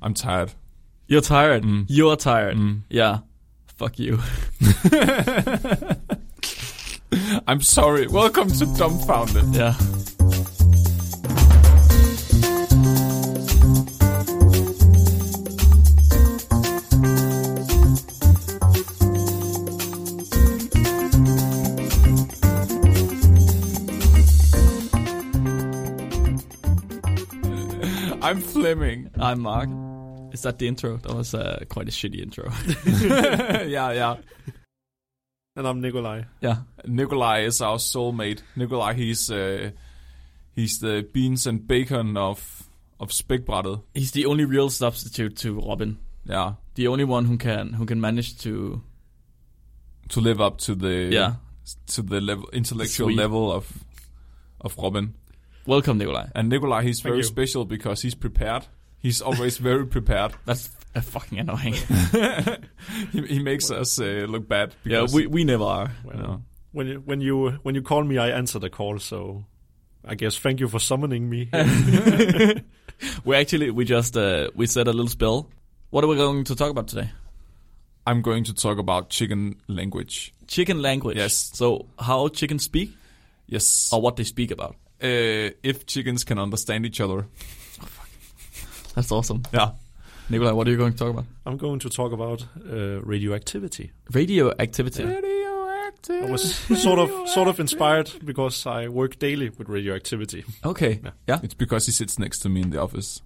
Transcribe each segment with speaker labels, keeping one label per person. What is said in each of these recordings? Speaker 1: I'm tired.
Speaker 2: You're tired.
Speaker 1: Mm.
Speaker 2: You're tired.
Speaker 1: Mm.
Speaker 2: Yeah. Fuck you.
Speaker 1: I'm sorry. Welcome to Dumbfounded.
Speaker 2: Yeah.
Speaker 1: I'm Fleming.
Speaker 2: I'm Mark. Is that the intro? That was uh, quite a shitty intro.
Speaker 1: yeah, yeah.
Speaker 3: And I'm Nikolai.
Speaker 2: yeah.
Speaker 1: Nikolai is our soulmate. Nikolai, he's uh, he's the beans and bacon of of spækbrættet.
Speaker 2: He's the only real substitute to Robin.
Speaker 1: Yeah,
Speaker 2: The only one who can who can manage to
Speaker 1: to live up to the
Speaker 2: yeah.
Speaker 1: to the level intellectual
Speaker 2: Sweet.
Speaker 1: level of of Robin.
Speaker 2: Welcome Nikolai.
Speaker 1: And Nikolai, he's very
Speaker 3: you.
Speaker 1: special because he's prepared. He's always very prepared.
Speaker 2: That's uh, fucking annoying.
Speaker 1: He, he makes us uh, look bad.
Speaker 2: yeah,
Speaker 1: Because,
Speaker 2: we we never are.
Speaker 3: Well,
Speaker 1: you know.
Speaker 3: When you, when you when you call me, I answer the call. So I guess thank you for summoning me.
Speaker 2: we actually we just uh, we said a little spell. What are we going to talk about today?
Speaker 1: I'm going to talk about chicken language.
Speaker 2: Chicken language.
Speaker 1: Yes.
Speaker 2: So how chickens speak
Speaker 1: Yes.
Speaker 2: or what they speak about.
Speaker 1: Uh, if chickens can understand each other.
Speaker 2: That's awesome.
Speaker 1: Yeah.
Speaker 2: Nikolai, what are you going to talk about?
Speaker 3: I'm going to talk about uh, radioactivity.
Speaker 2: Radioactivity.
Speaker 1: Radioactive.
Speaker 3: I was sort of sort of inspired because I work daily with radioactivity.
Speaker 2: Okay.
Speaker 3: Yeah.
Speaker 2: Yeah.
Speaker 1: It's because he sits next to me in the office.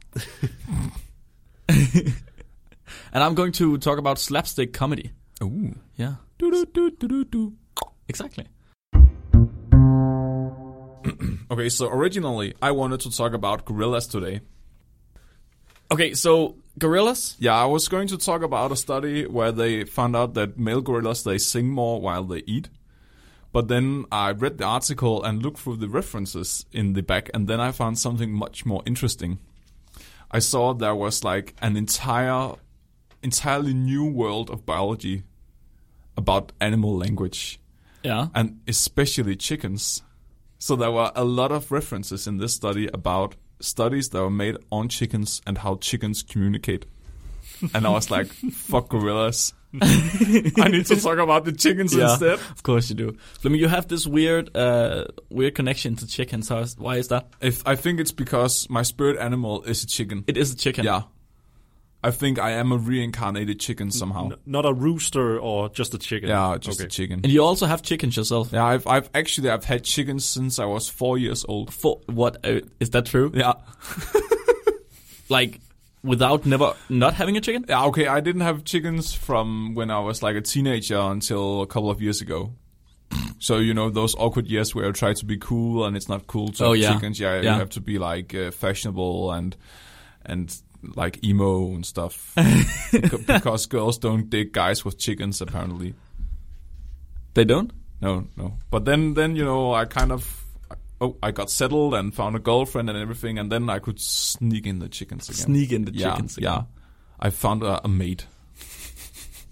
Speaker 2: And I'm going to talk about slapstick comedy.
Speaker 1: Ooh.
Speaker 2: Yeah.
Speaker 1: Do, do, do, do, do, do.
Speaker 2: Exactly.
Speaker 1: Okay, so originally I wanted to talk about gorillas today.
Speaker 2: Okay, so gorillas.
Speaker 1: Yeah, I was going to talk about a study where they found out that male gorillas they sing more while they eat. But then I read the article and looked through the references in the back, and then I found something much more interesting. I saw there was like an entire, entirely new world of biology about animal language.
Speaker 2: Yeah.
Speaker 1: and especially chickens. So there were a lot of references in this study about studies that were made on chickens and how chickens communicate. And I was like, fuck gorillas. I need to talk about the chickens
Speaker 2: Yeah.
Speaker 1: instead.
Speaker 2: Of course you do. Fleming, you have this weird, uh, weird connection to chickens. How is, why is that?
Speaker 1: If I think it's because my spirit animal is a chicken.
Speaker 2: It is a chicken.
Speaker 1: yeah. I think I am a reincarnated chicken somehow.
Speaker 3: N- not a rooster or just a chicken.
Speaker 1: Yeah, just a
Speaker 3: Okay.
Speaker 1: chicken.
Speaker 2: And you also have chickens yourself.
Speaker 1: Yeah, I've I've actually I've had chickens since I was four years old.
Speaker 2: For what uh, is that true?
Speaker 1: Yeah.
Speaker 2: Like without never not having a chicken?
Speaker 1: Yeah, okay, I didn't have chickens from when I was like a teenager until a couple of years ago. So you know those awkward years where I try to be cool and it's not cool to
Speaker 2: Oh,
Speaker 1: have
Speaker 2: yeah.
Speaker 1: chickens. Yeah,
Speaker 2: Yeah.
Speaker 1: you have to be like uh, fashionable and and like emo and stuff Beca- because girls don't dig guys with chickens apparently.
Speaker 2: They don't.
Speaker 1: No, no. But then then you know I kind of oh I got settled and found a girlfriend and everything and then I could sneak in the chickens again.
Speaker 2: Sneak in the
Speaker 1: Yeah,
Speaker 2: chickens.
Speaker 1: yeah. I found a, a mate.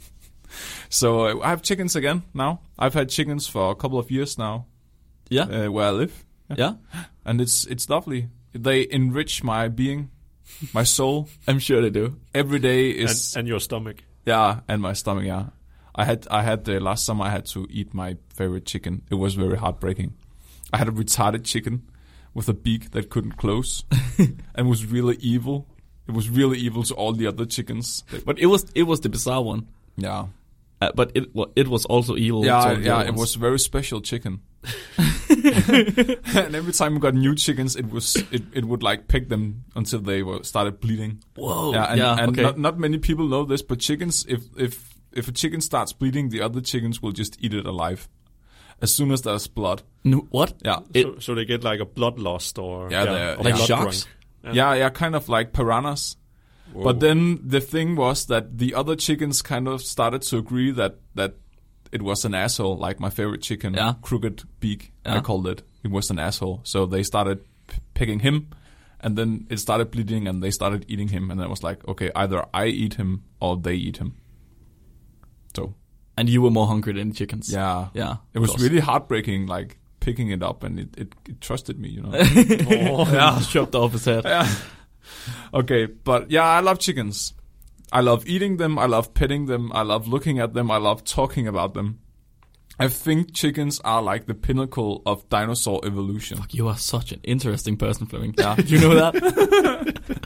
Speaker 1: so uh, I have chickens again now. I've had chickens for a couple of years now,
Speaker 2: Yeah.
Speaker 1: uh, where I live,
Speaker 2: yeah.
Speaker 1: and it's it's lovely. They enrich my being, my soul.
Speaker 2: I'm sure they do.
Speaker 1: Every day
Speaker 3: And,
Speaker 1: is
Speaker 3: and your stomach.
Speaker 1: yeah, and my stomach. Yeah, I had I had uh, last summer. I had to eat my favorite chicken. It was very heartbreaking. I had a retarded chicken with a beak that couldn't close and was really evil. It was really evil to all the other chickens. They-
Speaker 2: But it was it was the bizarre one.
Speaker 1: Yeah.
Speaker 2: Uh, but it wa- it was also
Speaker 1: Yeah,
Speaker 2: evil. to
Speaker 1: I-
Speaker 2: all the
Speaker 1: yeah,
Speaker 2: other
Speaker 1: it
Speaker 2: ones.
Speaker 1: was a very special chicken. and every time we got new chickens, it was it, it would like pick them until they were started bleeding.
Speaker 2: Whoa.
Speaker 1: yeah, and, and
Speaker 2: Oh, okay.
Speaker 1: not, not many people know this, but chickens, if if if a chicken starts bleeding, the other chickens will just eat it alive as soon as there's blood.
Speaker 2: N- what?
Speaker 1: Yeah,
Speaker 2: It-
Speaker 3: so, so they get like a blood loss or
Speaker 1: Yeah, they're-
Speaker 3: or
Speaker 1: like
Speaker 3: blood
Speaker 2: sharks?
Speaker 3: drunk.
Speaker 1: yeah, yeah, kind of like piranhas. But then the thing was that the other chickens kind of started to agree that that it was an asshole, like my favorite chicken,
Speaker 2: Yeah.
Speaker 1: crooked beak. I
Speaker 2: Yeah.
Speaker 1: called it. It was an asshole. So they started p- picking him, and then it started bleeding, and they started eating him, and I was like, okay, either I eat him or they eat him. So
Speaker 2: And you were more hungry than the chickens.
Speaker 1: yeah,
Speaker 2: Yeah. of
Speaker 1: it was
Speaker 2: course.
Speaker 1: really heartbreaking, like picking it up, and it it, it trusted me, you know.
Speaker 3: Oh,
Speaker 2: yeah. Chopped off his head.
Speaker 1: Yeah. Okay, but yeah, I love chickens. I love eating them. I love petting them. I love looking at them. I love talking about them. I think chickens are like the pinnacle of dinosaur evolution.
Speaker 2: You are such an interesting person, Fleming. Yeah, you know that.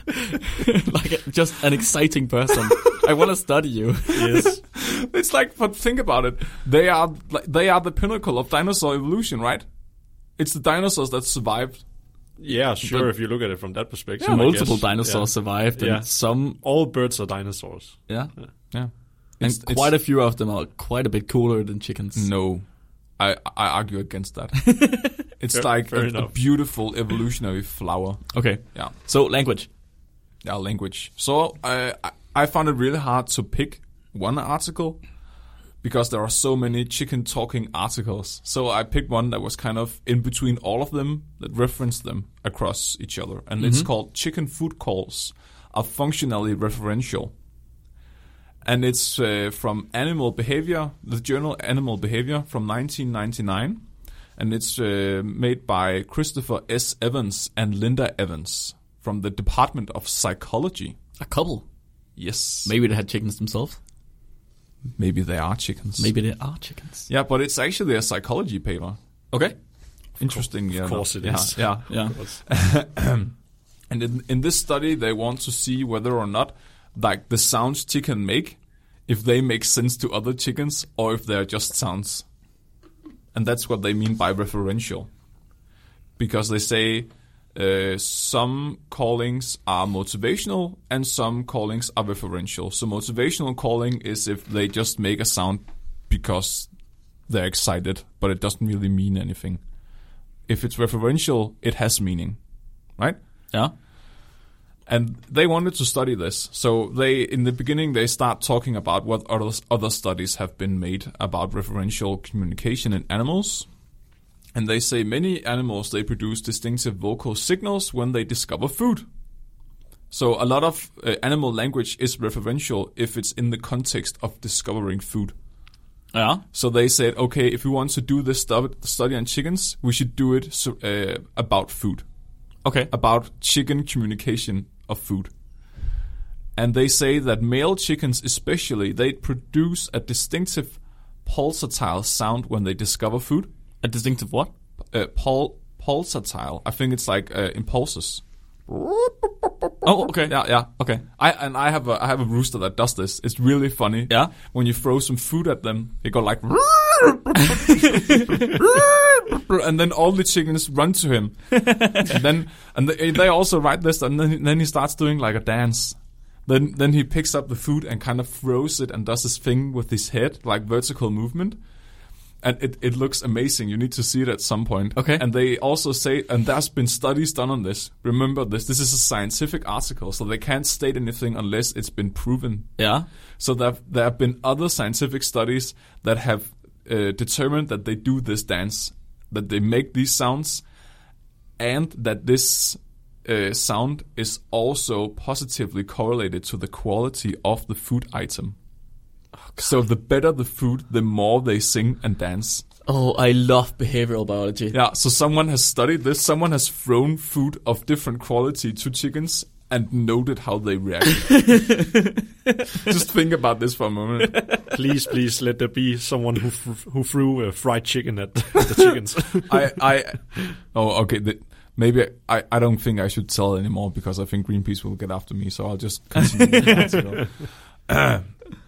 Speaker 2: like a- just an exciting person. I want to study you.
Speaker 3: Yes.
Speaker 1: It's like, but think about it. They are like, they are the pinnacle of dinosaur evolution, right? It's the dinosaurs that survived.
Speaker 3: yeah, sure. if you look at it from that perspective, I
Speaker 2: Multiple
Speaker 3: guess.
Speaker 2: dinosaurs
Speaker 3: Yeah.
Speaker 2: survived, and
Speaker 3: Yeah.
Speaker 2: some,
Speaker 3: All birds are dinosaurs.
Speaker 2: yeah,
Speaker 1: Yeah,
Speaker 2: and
Speaker 1: It's- Mm. it's-
Speaker 2: quite a few of them are quite a bit cooler than chickens.
Speaker 1: No, I I argue against that. it's
Speaker 3: Fair-
Speaker 1: like a,
Speaker 3: fair
Speaker 1: a
Speaker 3: enough.
Speaker 1: beautiful evolutionary flower.
Speaker 2: Okay,
Speaker 1: Yeah,
Speaker 2: so language.
Speaker 1: yeah, language. So I I- I found it really hard to pick one article because there are so many chicken talking articles. So I picked one that was kind of in between all of them that referenced them across each other, and it's called "Chicken Food Calls Are Functionally Referential." And it's uh, from Animal Behavior, the journal Animal Behavior from 1999. And it's uh, made by Christopher S. Evans and Linda Evans from the Department of Psychology.
Speaker 2: A couple.
Speaker 1: Yes.
Speaker 2: Maybe they had chickens themselves.
Speaker 1: Maybe they are chickens.
Speaker 2: Maybe they are chickens.
Speaker 1: Yeah, but it's actually a psychology paper.
Speaker 2: Okay.
Speaker 1: Interesting. yeah,
Speaker 3: Of course it
Speaker 1: yeah,
Speaker 3: is.
Speaker 1: Yeah.
Speaker 2: Yeah.
Speaker 1: And in, in this study, they want to see whether or not, like, the sounds chicken make, if they make sense to other chickens or if they're just sounds. And that's what they mean by referential. Because they say uh, some callings are motivational and some callings are referential. So, motivational calling is if they just make a sound because they're excited, but it doesn't really mean anything. If it's referential, it has meaning, right?
Speaker 2: Yeah.
Speaker 1: and they wanted to study this so they in the beginning they start talking about what other, other studies have been made about referential communication in animals and they say many animals they produce distinctive vocal signals when they discover food so a lot of uh, animal language is referential if it's in the context of discovering food
Speaker 2: Yeah.
Speaker 1: so they said okay if we want to do this stu- study on chickens we should do it so- uh, about food
Speaker 2: Okay.
Speaker 1: about chicken communication of food. And they say that male chickens, especially, they produce a distinctive pulsatile sound when they discover food.
Speaker 2: A distinctive what?
Speaker 1: Uh, pul- pulsatile, I think it's like uh, impulses.
Speaker 2: Oh, okay.
Speaker 1: Yeah, yeah, okay. I and I have a I have a rooster that does this. It's really funny.
Speaker 2: Yeah.
Speaker 1: When you throw some food at them, they go like, and then all the chickens run to him. and then and they, they also write this, and then then he starts doing like a dance. Then then he picks up the food and kind of throws it and does this thing with his head, like vertical movement. And it, it looks amazing. You need to see it at some point.
Speaker 2: Okay.
Speaker 1: And they also say, and there's been studies done on this. Remember this. This is a scientific article, so they can't state anything unless it's been proven.
Speaker 2: Yeah.
Speaker 1: So there have, there have been other scientific studies that have uh, determined that they do this dance, that they make these sounds, and that this uh, sound is also positively correlated to the quality of the food item. so the better the food, the more they sing and dance.
Speaker 2: Oh, I love behavioral biology.
Speaker 1: Yeah, so someone has studied this. Someone has thrown food of different quality to chickens and noted how they reacted. Just think about this for a moment.
Speaker 3: please, please let there be someone who f- who threw a fried chicken at the chickens.
Speaker 1: I, I, oh, okay. The, maybe I, I don't think I should sell it anymore because I think Greenpeace will get after me. So I'll just continue. with the article.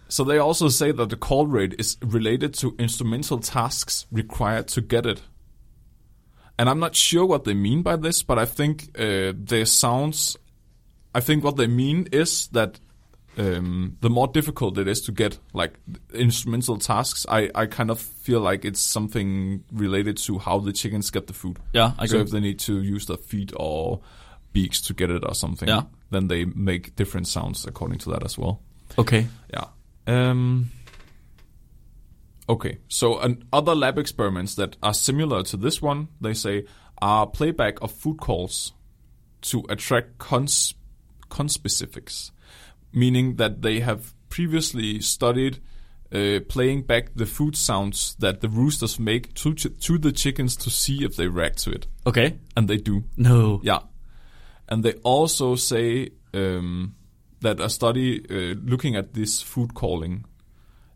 Speaker 1: so they also say that the call rate is related to instrumental tasks required to get it. And I'm not sure what they mean by this, but I think uh, their sounds. I think what they mean is that um, the more difficult it is to get like instrumental tasks, I, I kind of feel like it's something related to how the chickens get the food.
Speaker 2: Yeah, I
Speaker 1: so
Speaker 2: agree.
Speaker 1: if they need to use their feet or beaks to get it or something,
Speaker 2: Yeah.
Speaker 1: then they make different sounds according to that as well.
Speaker 2: Okay.
Speaker 1: Yeah. Um, okay. So, an, other lab experiments that are similar to this one, they say, are playback of food calls to attract cons conspecifics, meaning that they have previously studied uh, playing back the food sounds that the roosters make to ch- to the chickens to see if they react to it,
Speaker 2: Okay.
Speaker 1: and they do.
Speaker 2: No.
Speaker 1: Yeah. And they also say um, that a study uh, looking at this food calling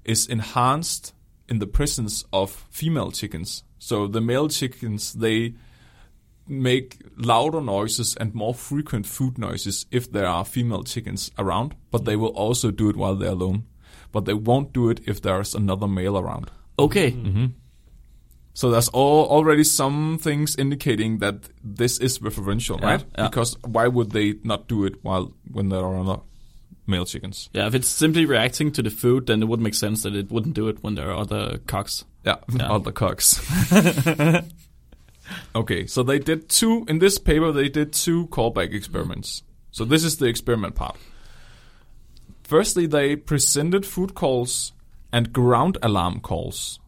Speaker 1: is enhanced in the presence of female chickens. So the male chickens they make louder noises and more frequent food noises if there are female chickens around, but they will also do it while they're alone. But they won't do it if there's another male around.
Speaker 2: Okay.
Speaker 1: So there's all, already some things indicating that this is referential,
Speaker 2: Yeah,
Speaker 1: right?
Speaker 2: yeah.
Speaker 1: Because why would they not do it while when there are other male chickens?
Speaker 2: Yeah, if it's simply reacting to the food, then it would make sense that it wouldn't do it when there are other cocks.
Speaker 1: Yeah, other cocks. okay, so they did two in this paper. They did two callback experiments. So this is the experiment part. Firstly, they presented food calls and ground alarm calls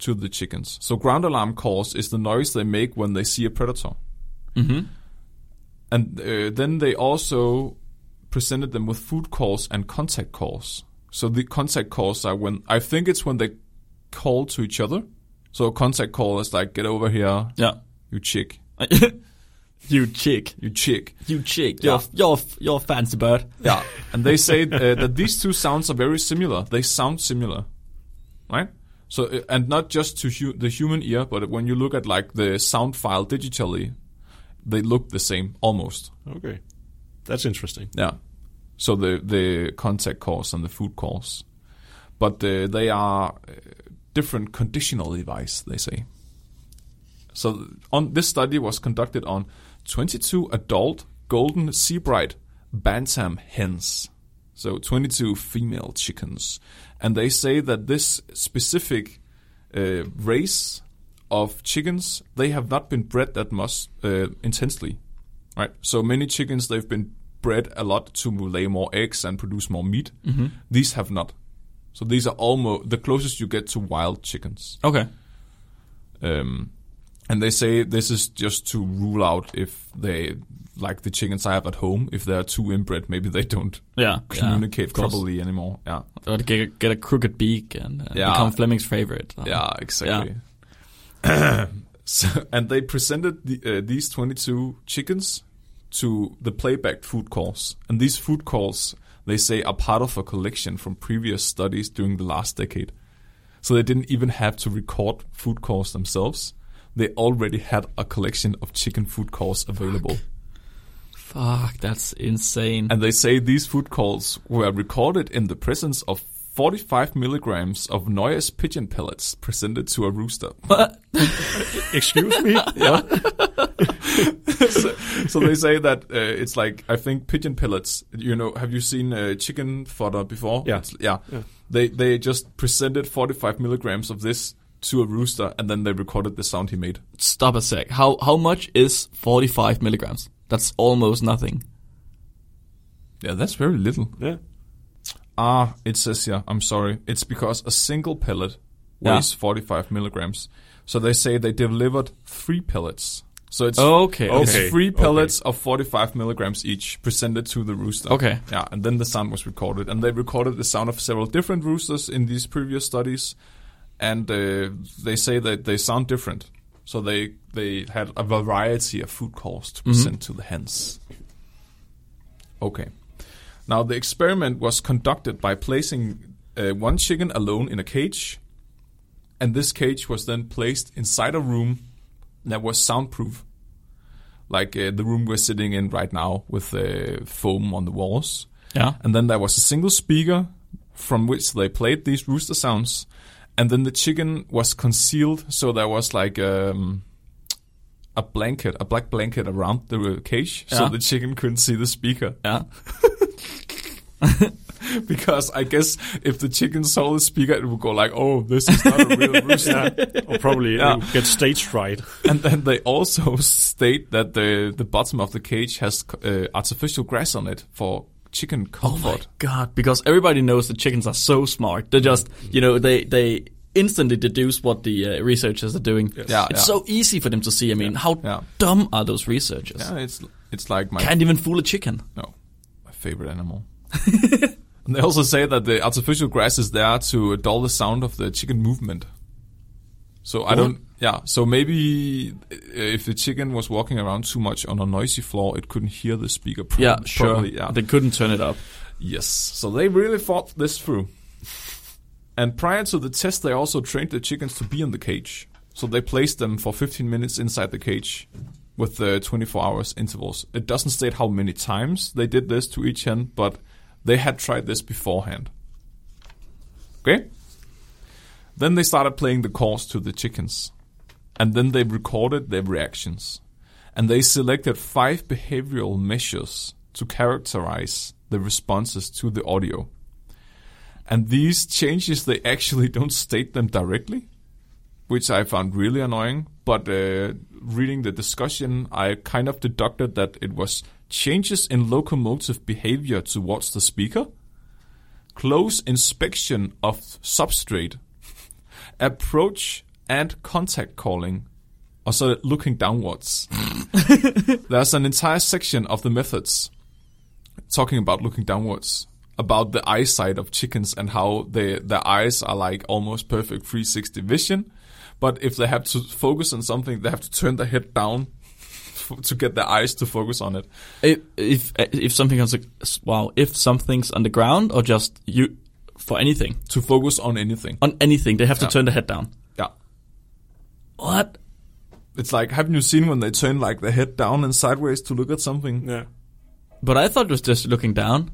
Speaker 1: to the chickens. So ground alarm calls is the noise they make when they see a predator.
Speaker 2: Mm-hmm.
Speaker 1: And uh, then they also presented them with food calls and contact calls. So the contact calls are when I think it's when they call to each other. So a contact call is like, "Get over here,
Speaker 2: Yeah.
Speaker 1: you chick,
Speaker 2: you chick.
Speaker 1: you chick."
Speaker 2: You chick. You're, you're, you're a fancy bird.
Speaker 1: Yeah. and they say uh, that these two sounds are very similar. They sound similar, right? So uh, and not just to hu- the human ear, but when you look at like the sound file digitally, they look the same almost.
Speaker 3: Okay. That's interesting.
Speaker 1: Yeah. So the the contact calls and the food calls, but uh, they are uh, different conditional device. They say. So on this study was conducted on 22 adult golden seabright bantam hens. So 22 female chickens, and they say that this specific uh, race of chickens they have not been bred that much uh, intensely right? So many chickens they've been bred a lot to lay more eggs and produce more meat.
Speaker 2: Mm-hmm.
Speaker 1: These have not. So these are almost the closest you get to wild chickens.
Speaker 2: Okay.
Speaker 1: Um, and they say this is just to rule out if they like the chickens I have at home. If they are too inbred, maybe they don't
Speaker 2: Yeah.
Speaker 1: communicate
Speaker 2: of course.
Speaker 1: properly anymore. Yeah,
Speaker 2: Or to get, get a crooked beak and uh,
Speaker 1: Yeah.
Speaker 2: become Fleming's favorite.
Speaker 1: yeah, exactly. so, and they presented the, uh, these 22 chickens to the playback food calls. And these food calls, they say, are part of a collection from previous studies during the last decade. So they didn't even have to record food calls themselves. They already had a collection of chicken food calls available.
Speaker 2: Fuck, that's insane.
Speaker 1: And they say these food calls were recorded in the presence of 45 milligrams of Neuer's pigeon pellets presented to a rooster.
Speaker 3: Excuse me?
Speaker 1: so they say that uh, it's like I think pigeon pellets. You know, have you seen uh, chicken fodder before?
Speaker 3: Yeah.
Speaker 1: It's- yeah, They they just presented 45 milligrams of this to a rooster, and then they recorded the sound he made.
Speaker 2: Stop a sec. How how much is 45 milligrams? That's almost nothing.
Speaker 1: Yeah, that's very little.
Speaker 3: Yeah.
Speaker 1: Ah, it says here. I'm sorry. It's because a single pellet
Speaker 2: Yeah.
Speaker 1: weighs 45 milligrams. So they say they delivered three pellets. So it's
Speaker 2: Okay.
Speaker 1: It's
Speaker 3: Okay,
Speaker 1: three
Speaker 3: okay.
Speaker 1: pellets of 45 milligrams each presented to the rooster.
Speaker 2: Okay.
Speaker 1: Yeah, and then the sound was recorded. And they recorded the sound of several different roosters in these previous studies. And uh, they say that they sound different. So they, they had a variety of food calls to present to the hens. Okay. Now, the experiment was conducted by placing uh, one chicken alone in a cage. And this cage was then placed inside a room that was soundproof like uh, the room we're sitting in right now with uh, foam on the walls.
Speaker 2: Yeah.
Speaker 1: And then there was a single speaker from which they played these rooster sounds. And then the chicken was concealed, so there was like um, a blanket, a black blanket around the uh, cage, so
Speaker 2: Yeah.
Speaker 1: the chicken couldn't see the speaker.
Speaker 2: Yeah.
Speaker 1: Because I guess if the chicken saw the speaker, it would go like, "Oh, this is not a real rooster."
Speaker 3: Or probably
Speaker 1: Yeah.
Speaker 3: you get stage fright.
Speaker 1: and then they also state that the the bottom of the cage has uh, artificial grass on it for chicken
Speaker 2: Oh
Speaker 1: comfort.
Speaker 2: God, because everybody knows the chickens are so smart. They just, you know, they they instantly deduce what the uh, researchers are doing.
Speaker 1: Yeah,
Speaker 2: it's
Speaker 1: yeah.
Speaker 2: so easy for them to see. I mean, how
Speaker 1: Yeah.
Speaker 2: dumb are those researchers?
Speaker 1: Yeah, it's it's like my
Speaker 2: Can't even fool a chicken.
Speaker 1: no, my favorite animal. and they also say that the artificial grass is there to dull the sound of the chicken movement. So I don't Yeah, so maybe uh, if the chicken was walking around too much on a noisy floor, it couldn't hear the speaker pro-
Speaker 2: Yeah, sure.
Speaker 1: properly. Yeah.
Speaker 2: They couldn't turn it up.
Speaker 1: yes, so they really thought this through. And prior to the test, they also trained the chickens to be in the cage. So they placed them for 15 minutes inside the cage with the 24 hours intervals. It doesn't state how many times they did this to each hen, but they had tried this beforehand. Okay? Then they started playing the calls to the chickens. And then they recorded their reactions. And they selected five behavioral measures to characterize the responses to the audio. And these changes, they actually don't state them directly, which I found really annoying. But uh, reading the discussion, I kind of deducted that it was changes in locomotive behavior towards the speaker, close inspection of substrate, approach and contact calling. Or so looking downwards. There's an entire section of the methods talking about looking downwards, about the eyesight of chickens and how they, their eyes are like almost perfect 360 vision. But if they have to focus on something, they have to turn their head down f- to get their eyes to focus on it.
Speaker 2: If if if something comes, wow, if something's underground or just you for anything
Speaker 1: To focus on anything.
Speaker 2: on anything, they have to turn their head down.
Speaker 1: Yeah.
Speaker 2: What?
Speaker 1: It's like, haven't you seen when they turn like their head down and sideways to look at something?
Speaker 3: Yeah.
Speaker 2: But I thought it was just looking down.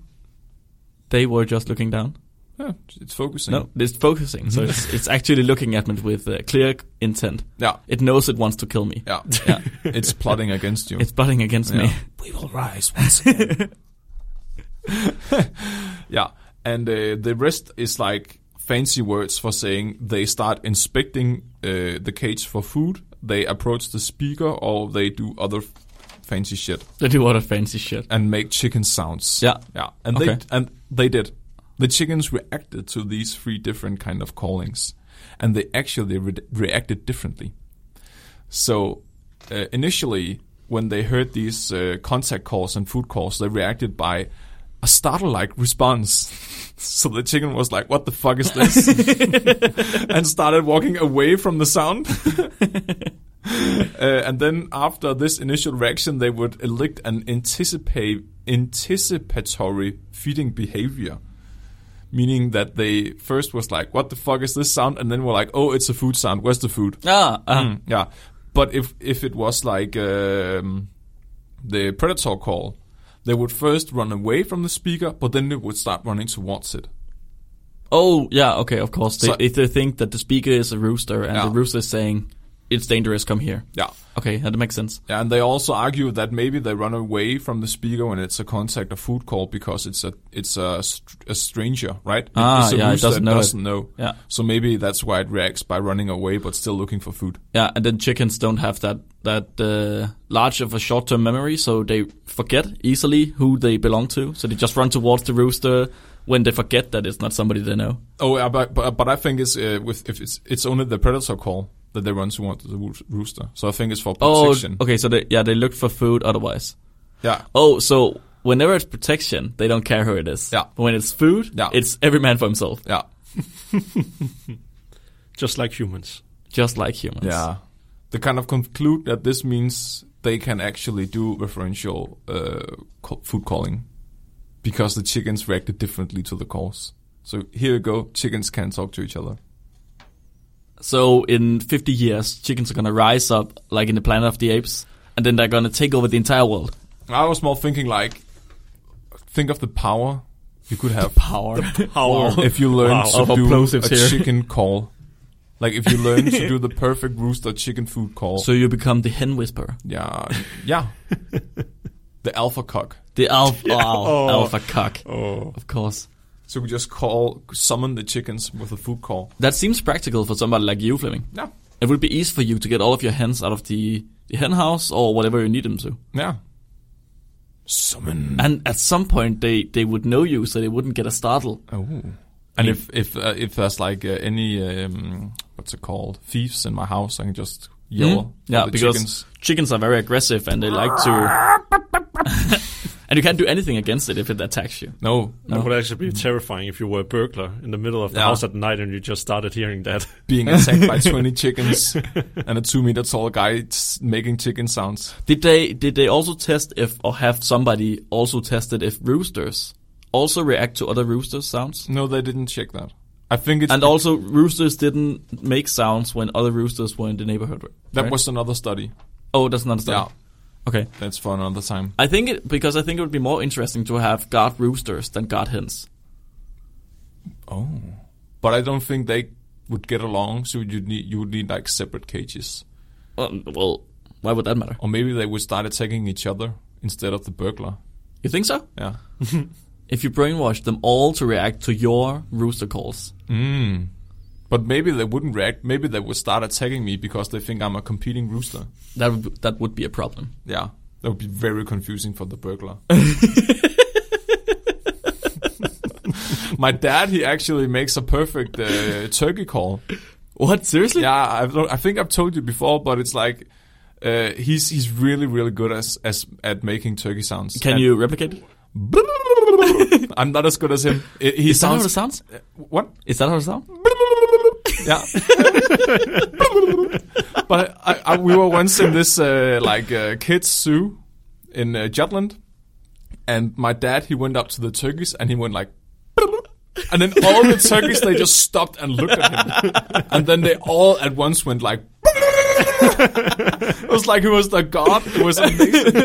Speaker 2: They were just looking down.
Speaker 1: Yeah, it's focusing.
Speaker 2: No, it's focusing. So it's, it's actually looking at me with uh, clear intent.
Speaker 1: Yeah.
Speaker 2: It knows it wants to kill me.
Speaker 1: Yeah.
Speaker 2: Yeah.
Speaker 1: it's plotting against you.
Speaker 2: It's butting against me.
Speaker 1: Yeah. We will rise once again. yeah, and uh, the rest is like fancy words for saying they start inspecting uh, the cage for food, they approach the speaker, or they do other f- fancy shit
Speaker 2: They do other fancy shit.
Speaker 1: and make chicken sounds.
Speaker 2: Yeah.
Speaker 1: yeah, and
Speaker 2: Okay.
Speaker 1: they and they did. The chickens reacted to these three different kind of callings, and they actually re- reacted differently. So uh, initially, when they heard these uh, contact calls and food calls, they reacted by a startle-like response. so the chicken was like, "What the fuck is this?" and started walking away from the sound. Uh, and then after this initial reaction, they would elect an anticipate, anticipatory feeding behavior, meaning that they first was like, "What the fuck is this sound?" and then were like, "Oh, it's a food sound. Where's the food?"
Speaker 2: Ah, ah.
Speaker 1: Mm, yeah, but if if it was like um, the predator call, they would first run away from the speaker, but then they would start running towards it.
Speaker 2: Oh, yeah, okay, of course. They,
Speaker 1: So-
Speaker 2: if they think that the speaker is a rooster and the
Speaker 1: Yeah.
Speaker 2: rooster is saying, it's dangerous, come here.
Speaker 1: Yeah.
Speaker 2: Okay, that makes sense.
Speaker 1: Yeah, and they also argue that maybe they run away from the speaker when it's a contact or food call because it's a it's a, str- a stranger, right? It-
Speaker 2: Ah,
Speaker 1: it's a
Speaker 2: yeah, it
Speaker 1: rooster
Speaker 2: doesn't
Speaker 1: that
Speaker 2: know it.
Speaker 1: doesn't know.
Speaker 2: Yeah.
Speaker 1: So maybe that's why it reacts by running away but still looking for food.
Speaker 2: Yeah, and then chickens don't have that that uh, large of a short-term memory, so they forget easily who they belong to. So they just run towards the rooster when they forget that it's not somebody they know.
Speaker 1: Oh, yeah, but but, but I think it's uh, with if it's it's only the predator call that they run towards the roo- rooster. So I think it's for
Speaker 2: Oh,
Speaker 1: protection.
Speaker 2: okay. So they yeah, they look for food otherwise.
Speaker 1: Yeah.
Speaker 2: Oh, so whenever it's protection, they don't care who it is.
Speaker 1: Yeah.
Speaker 2: But when it's food,
Speaker 1: Yeah.
Speaker 2: it's every man for himself,
Speaker 1: Yeah.
Speaker 3: Just like humans.
Speaker 2: just like humans.
Speaker 1: Yeah. They kind of conclude that this means they can actually do referential uh, co- food calling because the chickens reacted differently to the calls. So here you go, chickens can talk to each other.
Speaker 2: So in 50 years, chickens are gonna rise up like in the Planet of the Apes, and then they're gonna take over the entire world.
Speaker 1: I was more thinking like, think of the power you could have
Speaker 2: Power.
Speaker 3: How?
Speaker 1: if you learn
Speaker 3: Wow.
Speaker 1: to
Speaker 2: Of
Speaker 1: do a
Speaker 2: plosives here.
Speaker 1: chicken call. Like if you learn to do the perfect rooster chicken food call.
Speaker 2: so you become the hen whisperer.
Speaker 1: yeah, yeah. the alpha cock.
Speaker 2: The alpha, oh,
Speaker 3: Oh.
Speaker 2: alpha cock,
Speaker 3: Oh.
Speaker 2: of course.
Speaker 1: So we just call summon the chickens with a food call.
Speaker 2: That seems practical for somebody like you, Fleming.
Speaker 1: Yeah.
Speaker 2: It would be easy for you to get all of your hens out of the, the hen house or whatever you need them to.
Speaker 1: Yeah. Summon.
Speaker 2: And at some point, they, they would know you, so they wouldn't get a startle.
Speaker 1: Oh. And if if uh, if there's like uh, any um, what's it called thieves in my house, I can just yell.
Speaker 2: Mm.
Speaker 1: for
Speaker 2: Yeah,
Speaker 1: Oh, the
Speaker 2: because
Speaker 1: chickens.
Speaker 2: chickens. are very aggressive and they like to. And you can't do anything against it if it attacks you.
Speaker 1: No,
Speaker 2: No.
Speaker 3: That would actually be terrifying if you were a burglar in the middle of the
Speaker 1: Yeah.
Speaker 3: house at night and you just started hearing that.
Speaker 1: being attacked by 20 chickens and a two meter tall guy s- making chicken sounds.
Speaker 2: Did they did they also test if or have somebody also tested if roosters also react to other rooster sounds?
Speaker 1: No, they didn't check that. I think it's
Speaker 2: And also roosters didn't make sounds when other roosters were in the neighborhood.
Speaker 1: that
Speaker 2: right?
Speaker 1: was another study.
Speaker 2: Oh, that's not a study.
Speaker 1: Yeah,
Speaker 2: Okay.
Speaker 1: that's for another time.
Speaker 2: I think it because I think it would be more interesting to have guard roosters than guard hens.
Speaker 1: Oh, but I don't think they would get along. So you need you would need like separate cages,
Speaker 2: Um, well, why would that matter?
Speaker 1: or maybe they would start attacking each other instead of the burglar.
Speaker 2: You think so?
Speaker 1: Yeah.
Speaker 2: If you brainwash them all to react to your rooster calls,
Speaker 1: Mm. But maybe they wouldn't react. Maybe they would start attacking me because they think I'm a competing rooster.
Speaker 2: that would be, that would be a problem.
Speaker 1: Yeah, that would be very confusing for the burglar. My dad, he actually makes a perfect uh, turkey call.
Speaker 2: What seriously?
Speaker 1: Yeah, I've, lo- I think I've told you before, but it's like uh, he's he's really really good as as at making turkey sounds.
Speaker 2: Can
Speaker 1: And-
Speaker 2: you replicate it?
Speaker 1: I'm not as good as him. It, he
Speaker 2: Is that how it
Speaker 1: sounds
Speaker 2: sounds?
Speaker 1: what?
Speaker 2: Is that how it sounds?
Speaker 1: Yeah. but I, I, we were once in this uh, like uh, kids zoo in uh, Jutland, and my dad he went up to the turkeys and he went like, and then all the turkeys they just stopped and looked at him, and then they all at once went like. it was like he was the god. It was amazing.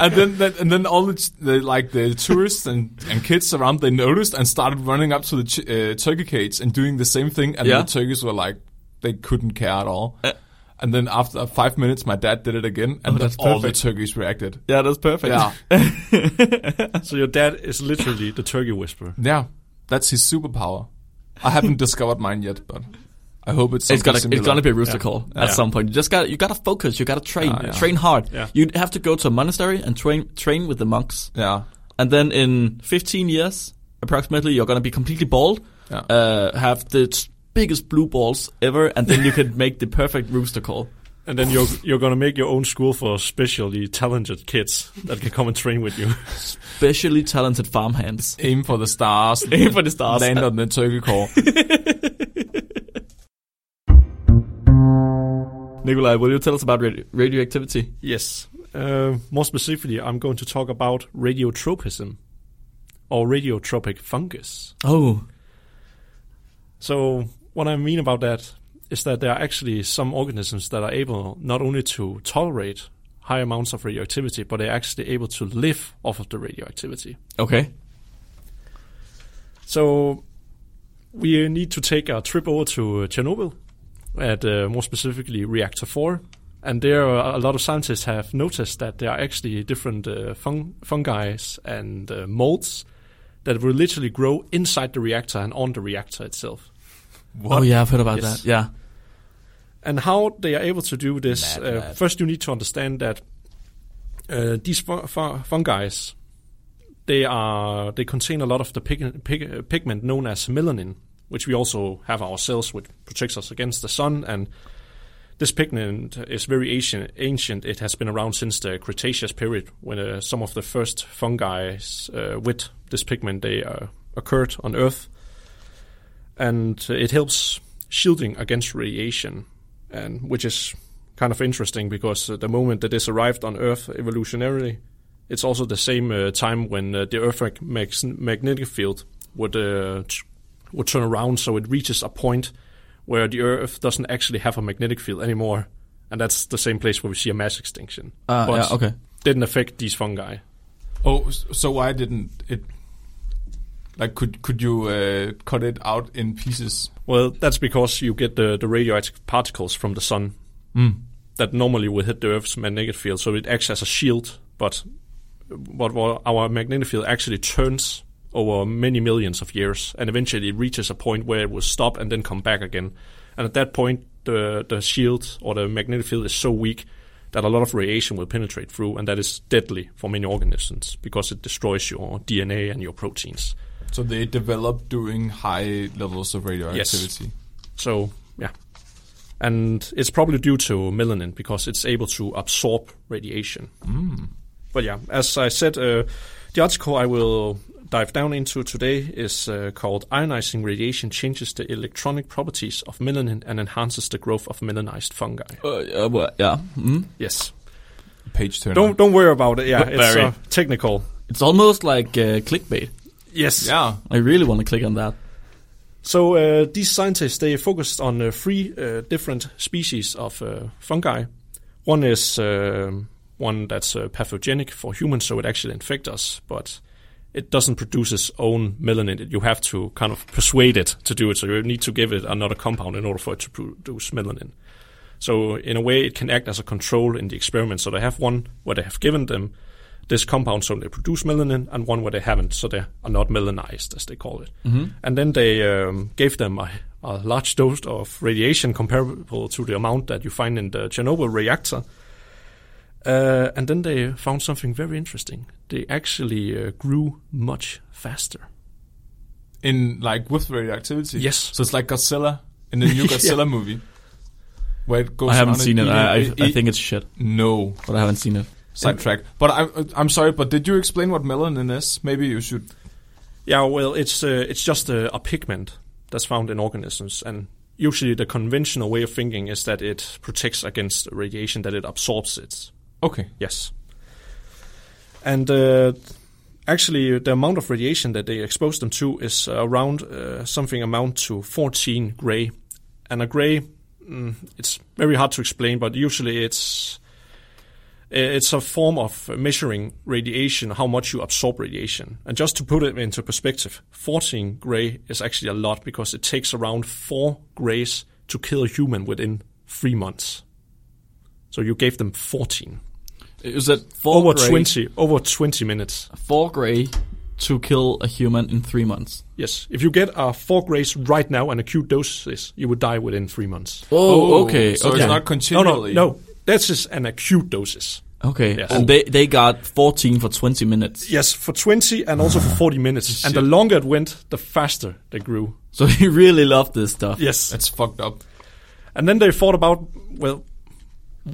Speaker 1: and then, then and then all the, ch- the like the tourists and, and kids around they noticed and started running up to the ch- uh, turkey cage and doing the same thing. And
Speaker 2: Yeah.
Speaker 1: the turkeys were like they couldn't care at all. and then after five minutes, my dad did it again, and
Speaker 2: Oh, that's
Speaker 1: all the
Speaker 2: perfect.
Speaker 1: turkeys reacted.
Speaker 2: Yeah, that's perfect.
Speaker 1: Yeah,
Speaker 3: so your dad is literally the turkey whisperer.
Speaker 1: yeah, that's his superpower. I haven't discovered mine yet, but I hope it's
Speaker 2: It's
Speaker 1: something
Speaker 2: gonna it's
Speaker 1: similar.
Speaker 2: gonna be a rooster call at
Speaker 3: Yeah.
Speaker 2: some point. You just got you gotta focus. You gotta train.
Speaker 1: Yeah, yeah.
Speaker 2: Train hard.
Speaker 3: Yeah.
Speaker 2: You have to go to a monastery and train train with the monks.
Speaker 1: yeah.
Speaker 2: And then in 15 years, approximately, you're gonna be completely bald.
Speaker 1: Yeah.
Speaker 2: Uh, have the t- biggest blue balls ever, and then you can make the perfect rooster call.
Speaker 3: And then you're you're gonna make your own school for specially talented kids that can come and train with you.
Speaker 2: Specially talented farmhands.
Speaker 1: Aim for the stars.
Speaker 2: Aim for the stars.
Speaker 1: Land on the turkey call.
Speaker 2: Nikolai, will you tell us about radio- radioactivity?
Speaker 3: Yes. Uh, more specifically, I'm going to talk about radiotropism or radiotropic fungus.
Speaker 2: Oh,
Speaker 3: So, what I mean about that is that there are actually some organisms that are able not only to tolerate high amounts of radioactivity, but they're actually able to live off of the radioactivity.
Speaker 2: okay.
Speaker 3: So, we need to take a trip over to uh, Chernobyl, at uh, more specifically Reactor 4. And there, are, a lot of scientists have noticed that there are actually different uh, fung- fungi and uh, molds that will literally grow inside the reactor and on the reactor itself.
Speaker 1: What?
Speaker 2: Oh yeah, I've heard about
Speaker 3: Yes.
Speaker 2: that. Yeah.
Speaker 3: And how they are able to do this,
Speaker 2: Mad,
Speaker 3: uh,
Speaker 2: mad.
Speaker 3: first you need to understand that uh, these fu- fu- fungi, they are they contain a lot of the pig- pig- uh, pigment known as melanin, which we also have ourselves, which protects us against the sun. And this pigment is very ancient. Ancient, it has been around since the Cretaceous period, when uh, some of the first fungi uh, with this pigment they uh, occurred on Earth and uh, it helps shielding against radiation, and which is kind of interesting because uh, the moment that this arrived on Earth evolutionarily, it's also the same uh, time when uh, the Earth mag- mags- magnetic field would uh, t- would turn around, so it reaches a point where the Earth doesn't actually have a magnetic field anymore, and that's the same place where we see a mass extinction.
Speaker 2: Uh,
Speaker 3: But
Speaker 2: yeah. Okay.
Speaker 3: Didn't affect these fungi.
Speaker 1: Oh, s- so why didn't it? Like, could could you uh, cut it out in pieces?
Speaker 3: Well, that's because you get the, the radioactive particles from the sun that normally will hit the Earth's magnetic field, so it acts as a shield. But what what our magnetic field actually turns over many millions of years, and eventually it reaches a point where it will stop and then come back again. And at that point, the the shield or the magnetic field is so weak that a lot of radiation will penetrate through, and that is deadly for many organisms because it destroys your DNA and your proteins.
Speaker 1: So they develop during high levels of radioactivity.
Speaker 3: So yeah, and it's probably due to melanin because it's able to absorb radiation. But yeah, as I said, uh, The article I will dive down into today is uh, called Ionizing Radiation Changes the Electronic Properties of Melanin and Enhances the Growth of Melanized Fungi.
Speaker 2: Uh, uh, well, yeah. Mm.
Speaker 3: Yes.
Speaker 1: Page turner.
Speaker 3: Don't don't worry about it. Yeah, it's
Speaker 2: Very.
Speaker 3: uh, technical.
Speaker 2: It's almost like uh, clickbait.
Speaker 3: Yes.
Speaker 1: Yeah.
Speaker 2: I really want to click on that.
Speaker 3: So uh, these scientists they focused on uh, three uh, different species of uh, fungi. One is um one that's uh, pathogenic for humans, so it actually infects us, but it doesn't produce its own melanin. You have to kind of persuade it to do it. So you need to give it another compound in order for it to produce melanin. So in a way, it can act as a control in the experiment. So they have one where they have given them this compound, so they produce melanin, and one where they haven't, so they are not melanized, as they call it. And then they um, gave them a, a large dose of radiation comparable to the amount that you find in the Chernobyl reactor. Uh, and then they found something very interesting. They actually uh, grew much faster.
Speaker 1: In like with radioactivity.
Speaker 3: Yes.
Speaker 1: So it's like Godzilla in the new Godzilla movie. Where it goes
Speaker 2: I haven't
Speaker 1: around
Speaker 2: seen it.
Speaker 1: and
Speaker 2: I, I,
Speaker 1: eat-
Speaker 2: I
Speaker 1: eat-
Speaker 2: think it's shit,
Speaker 1: E no
Speaker 2: but I haven't seen it.
Speaker 1: sidetrack. But I, I'm sorry. But did you explain what melanin is? Maybe you should.
Speaker 3: Yeah, well, it's uh, it's just a, a pigment that's found in organisms, and usually the conventional way of thinking is that it protects against radiation, that it absorbs it.
Speaker 1: Okay.
Speaker 3: Yes. And uh, actually, the amount of radiation that they expose them to is around uh, something amount to 14 gray. And a gray, mm, it's very hard to explain, but usually it's it's a form of measuring radiation, how much you absorb radiation. And just to put it into perspective, 14 gray is actually a lot because it takes around four grays to kill a human within three months. So you gave them 14
Speaker 2: Is it four
Speaker 3: over
Speaker 2: gray,
Speaker 3: 20 over 20 minutes
Speaker 2: Four gray to kill a human in three months.
Speaker 3: yes if you get a four grays right now and acute doses you would die within three months
Speaker 2: Oh, okay,
Speaker 1: So
Speaker 2: okay,
Speaker 1: it's not
Speaker 3: no no
Speaker 1: continually.
Speaker 3: no that's just an acute doses
Speaker 2: okay.
Speaker 3: Yes.
Speaker 2: And they they got fourteen for twenty minutes.
Speaker 3: yes for 20 and also for 40 minutes and the longer it went the faster they grew
Speaker 2: So he really loved this stuff.
Speaker 3: yes
Speaker 1: That's fucked up.
Speaker 3: and then they thought about well